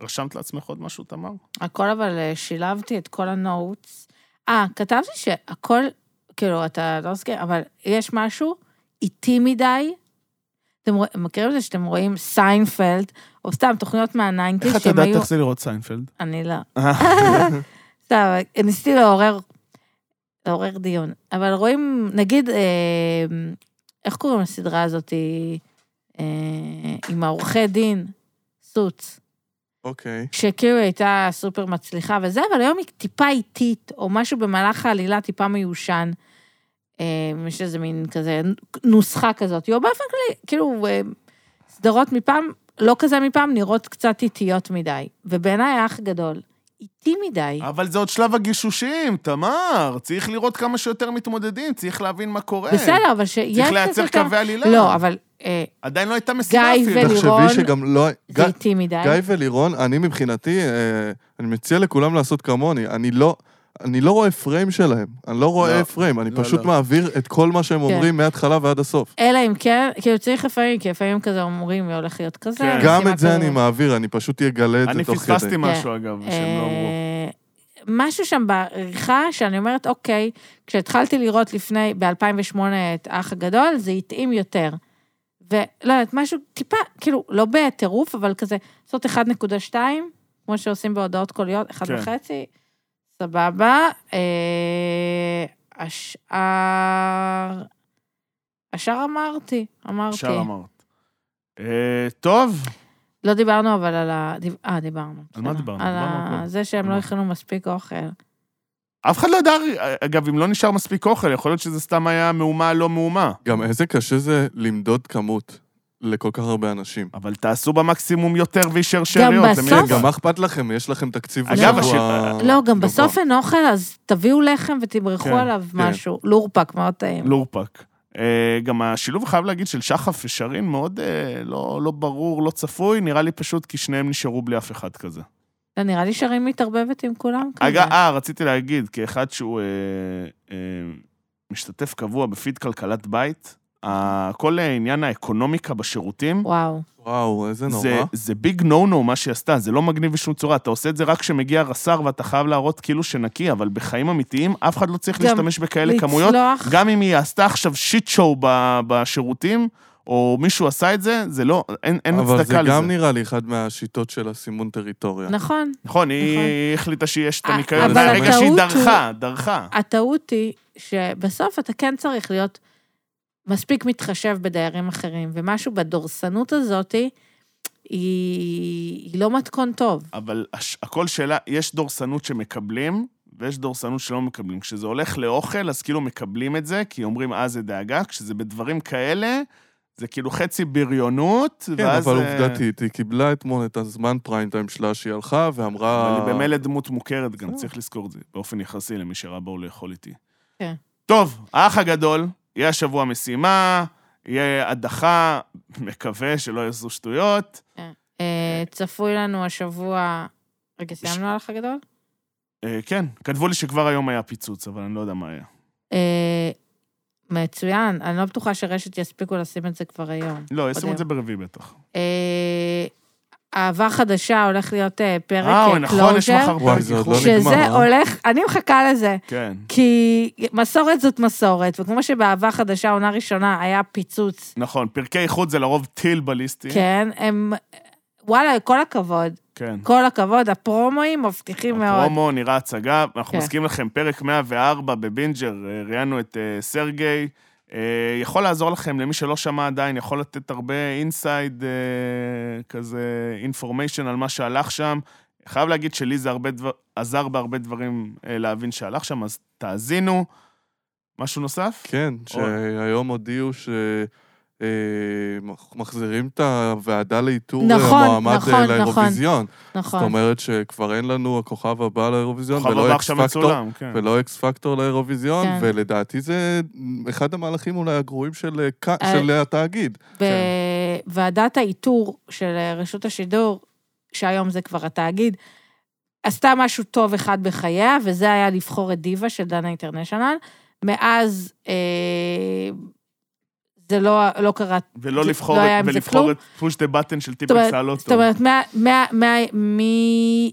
A: רשמת לעצמך עוד משהו, תמר?
B: הכל אבל אה, שילבתי את כל הנוטס. אה, כתבתי שהכל, כאילו, אתה לא מסכים, אבל יש משהו איטי מדי. אתם רוא- מכירים את זה שאתם רואים סיינפלד, או סתם תוכניות מהניינטיז
A: איך את
B: שהם
A: יודעת
B: היו...
A: איך זה לראות סיינפלד?
B: אני לא. סתם, ניסיתי לעורר, לעורר דיון. אבל רואים, נגיד, אה, איך קוראים לסדרה הזאת אה, עם העורכי דין? סוץ.
C: אוקיי.
B: שכאילו היא הייתה סופר מצליחה וזה, אבל היום היא טיפה איטית, או משהו במהלך העלילה טיפה מיושן. אה, יש איזה מין כזה נוסחה כזאת, או באופן כללי, כאילו, אה, סדרות מפעם, לא כזה מפעם, נראות קצת איטיות מדי. ובעיניי האח גדול, איטי מדי.
A: אבל זה עוד שלב הגישושים, תמר. צריך לראות כמה שיותר מתמודדים, צריך להבין מה קורה.
B: בסדר, אבל שיהיה
A: אוקיי. צריך
B: קצת
A: לייצר
B: יותר...
A: קווי עלילה.
B: לא, אבל אה,
A: עדיין לא הייתה משימה
B: גיא
A: אפילו.
B: ולירון.
C: תחשבי שגם לא...
B: זה
C: גיא-
B: איטי מדי.
C: גיא ולירון, אני מבחינתי, אה, אני מציע לכולם לעשות כמוני. אני לא... אני לא רואה פריים שלהם, אני לא רואה
A: לא.
C: פריים, אני
A: לא,
C: פשוט
A: לא.
C: מעביר את כל מה שהם
B: כן.
C: אומרים מההתחלה ועד הסוף.
B: אלא אם כן, כאילו צריך לפעמים, כי לפעמים כזה אומרים, "זה הולך להיות כזה.
A: כן.
C: גם
B: משימה
C: את זה
B: כזאת."
C: אני מעביר, אני פשוט אגלה את
A: אני
C: זה תוך כדי.
A: פספסתי משהו, אגב, שהם לא אמרו.
B: אה, משהו שם בעריכה, שאני אומרת, אוקיי, כשהתחלתי לראות לפני, ב-2008 את האח הגדול, זה התאים יותר. ולא יודעת, משהו טיפה, כאילו, לא בטירוף, אבל כזה, לעשות 1.2, כמו שעושים בהודעות קוליות, 1.5,
A: כן.
B: סבבה. אה, השאר... השאר אמרתי, אמרתי.
A: אפשר אמרת. אה, טוב,
B: לא דיברנו אבל על ה... דיב- אה, דיברנו.
A: על מה
B: בסדר.
A: דיברנו?
B: על
A: דיברנו על
B: ה-
A: הכל.
B: זה שהם
A: על
B: לא
A: מה?
B: הכינו מספיק אוכל.
A: אף אחד לא ידע, אגב, אם לא נשאר מספיק אוכל, יכול להיות שזה סתם היה מהומה לא מהומה.
C: גם איזה קשה זה למדוד כמות לכל כך הרבה אנשים.
A: אבל תעשו במקסימום יותר ויישאר שאריות. למי
B: בסוף-
A: אכפת?
C: אוקיי, גם מה אכפת לכם? יש לכם תקציב
A: אגב,
C: בשבוע
A: השיר-
B: לא, גם
C: גבוה.
B: בסוף אין אוכל, אז תביאו לחם ותברחו
A: כן,
B: עליו משהו. לורפק, מאוד טעים.
A: לורפק. אה, גם השילוב, חייב להגיד, של שחף ושרין מאוד אה, לא לא ברור, לא צפוי, נראה לי פשוט כי שניהם נשארו בלי אף אחד כזה.
B: לא, נראה לי שרים מתערבבת עם כולם כזה.
A: אגב, אה, רציתי להגיד, כאחד שהוא אה, אה, משתתף קבוע בפיד כלכלת בית, ה- כל עניין האקונומיקה בשירותים,
B: וואו.
C: וואו, איזה נורא.
A: זה, זה ביג נו נו מה שהיא עשתה, זה לא מגניב בשום צורה. אתה עושה את זה רק כשמגיע רס"ר ואתה חייב להראות כאילו שנקי, אבל בחיים אמיתיים אף אחד לא צריך
B: גם
A: להשתמש בכאלה כמויות.
B: לצלוח,
A: גם אם היא עשתה עכשיו שיט שואו ב- בשירותים, או מישהו עשה את זה, זה לא, אין, אין
C: אבל זה
A: הצדקה לזה.
C: גם נראה לי אחד מהשיטות של הסימון טריטוריה.
B: נכון.
A: נכון,
B: נכון.
A: היא החליטה שיש את
B: א-
A: הניקיון
C: אבל
A: הזה, רגע
B: הטעות
A: שהיא
B: הוא-
A: דרכה, דרכה.
B: הטעות היא שבסוף אתה כן צריך להיות מספיק מתחשב בדיירים אחרים, ומשהו בדורסנות הזאת היא, היא לא מתכון טוב.
A: אבל הש- הכל שאלה, יש דורסנות שמקבלים, ויש דורסנות שלא מקבלים. כשזה הולך לאוכל, אז כאילו מקבלים את זה, כי אומרים, אה, זה דאגה. כשזה בדברים כאלה, זה כאילו חצי בריונות,
C: כן,
A: ואז...
C: אבל
A: אה,
C: עובדתית, היא קיבלה אתמול את הזמן פריים טיים שלה שהיא הלכה
A: אבל
C: ואמרה...
A: היא במילא דמות מוכרת גם,
B: אה.
C: בסדר.
A: צריך לזכור את זה, באופן יחסי למי שראה בו לאכול איתי.
B: כן.
A: טוב, האח הגדול, יהיה השבוע משימה, יהיה הדחה, מקווה שלא יעשו שטויות.
B: אה, צפוי לנו השבוע... רגע, סיימנו על האח הגדול?
A: אה, כן, כתבו לי שכבר היום היה פיצוץ, אבל אני לא יודע מה היה.
B: אה, מצוין, אני לא בטוחה שרשת יספיקו לשים את זה כבר היום.
A: לא, ישימו
B: יודע.
A: את זה ברביעי בטח.
B: אה, אהבה חדשה הולך להיות אה, פרק
A: אה,
B: אה,
A: אוי, נכון, יש
B: closure,
A: מחר
C: וואי,
A: פרק
C: זה עוד
A: איחור.
C: לא נגמר.
B: שזה
C: אה?
B: הולך, אני מחכה לזה.
A: כן,
B: כי מסורת זאת מסורת, וכמו שבאהבה חדשה, עונה ראשונה, היה פיצוץ,
A: נכון, פרקי איחוד זה לרוב טיל בליסטי. כן.
B: כן, הם... וואלה, כל הכבוד,
A: כן.
B: כל הכבוד, הפרומואים מבטיחים מאוד.
A: הפרומו נראה הצגה, אנחנו
B: כן.
A: מזכירים לכם, פרק 104 בבינג'ר, אה, ראיינו את אה, סרגי. אה, יכול לעזור לכם, למי שלא שמע עדיין, יכול לתת הרבה אינסייד, כזה אינפורמיישן על מה שהלך שם. חייב להגיד שלי זה הרבה דבר, עזר בהרבה דברים אה, להבין שהלך שם, אז תאזינו. משהו נוסף?
C: כן, שהיום הודיעו ש... אה, מח- מחזירים את הוועדה לאיתור אה,
B: נכון,
C: המועמד
B: נכון,
C: אה,
B: נכון.
C: לאירוויזיון. זאת
B: נכון.
C: אומרת שכבר אין לנו הכוכב הבא לאירוויזיון,
A: כוכב הבא
C: ולא אקס
A: עכשיו
C: פקטור,
A: מצולם, כן.
C: ולא אקס פקטור לאירוויזיון,
B: כן.
C: ולדעתי זה אחד המהלכים אולי הגרועים של אה, ק-
B: אה,
C: של התאגיד.
B: בוועדת האיתור של אה, רשות השידור, שהיום זה כבר התאגיד, עשתה משהו טוב אחד בחייה, וזה היה לבחור את דיווה של דנה אינטרנשיונל. מאז אה, זה לא, לא קרה
A: ולא
B: זה-
A: לבחור
B: לא
A: את-
B: היה עם זה
A: ולבחור
B: כלום.
A: את פוש דה בטן של טיפקס
B: אומרת-
C: לא
A: הלא
B: זאת
A: טוב.
B: אומרת, מה, מה, מה, מ...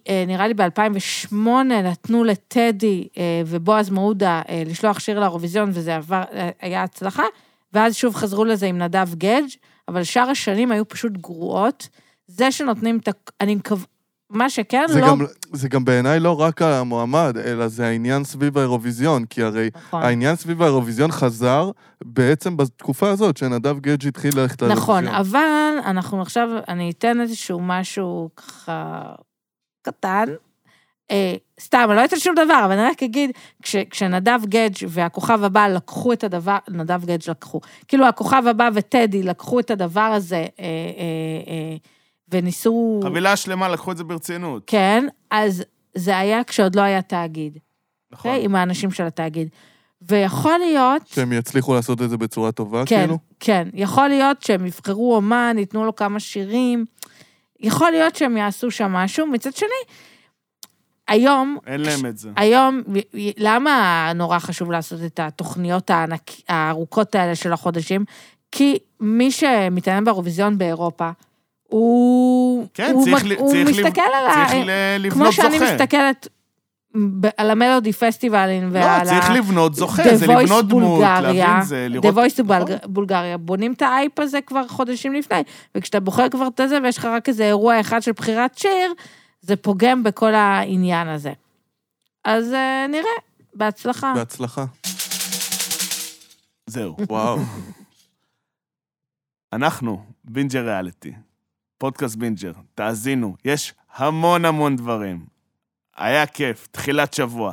B: אה, נראה לי ב-2008 נתנו לטדי אה, ובועז מעודה אה, לשלוח שיר לאירוויזיון, וזה עבר, אה, היה הצלחה, ואז שוב חזרו לזה עם נדב גדג', אבל שאר השנים היו פשוט גרועות. זה שנותנים את ה... אני מקווה... מה שכן,
C: זה
B: לא...
C: גם- זה גם בעיניי לא רק המועמד, אלא זה העניין סביב האירוויזיון, כי הרי
B: נכון.
C: העניין סביב האירוויזיון חזר בעצם בתקופה הזאת, שנדב גדג' התחיל ללכת לאירוויזיון.
B: נכון, אבל אנחנו עכשיו, אני אתן איזשהו משהו ככה קטן. אה, סתם, אני לא אתן שום דבר, אבל אני רק אגיד, כש, כשנדב גדג' והכוכב הבא לקחו את הדבר, נדב גדג' לקחו, כאילו הכוכב הבא וטדי לקחו את הדבר הזה אה, אה, אה, וניסו...
A: חבילה שלמה, לקחו את זה ברצינות.
B: כן, אז זה היה כשעוד לא היה תאגיד,
A: נכון.
B: אוקיי? עם האנשים של התאגיד. ויכול להיות...
C: שהם יצליחו לעשות את זה בצורה טובה,
B: כן,
C: כאילו?
B: כן. יכול להיות שהם יבחרו אומן, ייתנו לו כמה שירים, יכול להיות שהם יעשו שם משהו. מצד שני, היום,
A: אין להם את זה.
B: היום, למה נורא חשוב לעשות את התוכניות הענק, הארוכות האלה של החודשים? כי מי שמתעניין באירוויזיון באירופה, הוא,
A: כן,
B: הוא,
A: צריך
B: מק-
A: ל-
B: הוא
A: צריך לב-
B: מסתכל על ה...
A: צריך לא ל-
B: אה, כמו
A: לבנות זוכה.
B: שאני מסתכלת ב- על המלודי פסטיבלים ועל ה...
A: לא, צריך לבנות זוכה,
B: The
A: זה
B: Voice
A: לבנות דמות, להבין, זה
B: The
A: לראות...
B: Voice to
A: נכון.
B: בולג- בולגריה. בונים את האייפ הזה כבר חודשים לפני, וכשאתה בוחר כבר את הזה ויש לך רק איזה אירוע אחד של בחירת שיר, זה פוגם בכל העניין הזה. אז אה, נראה. בהצלחה.
C: בהצלחה.
A: זהו.
C: וואו.
A: אנחנו, בינג'ר ריאליטי, פודקאסט בינג'ר, תאזינו, יש המון המון דברים. היה כיף, תחילת שבוע.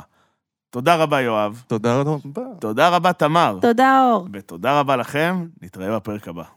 A: תודה רבה, יואב.
C: תודה רבה.
A: תודה רבה, תמר.
B: תודה, אור.
A: ותודה רבה לכם, נתראה בפרק הבא.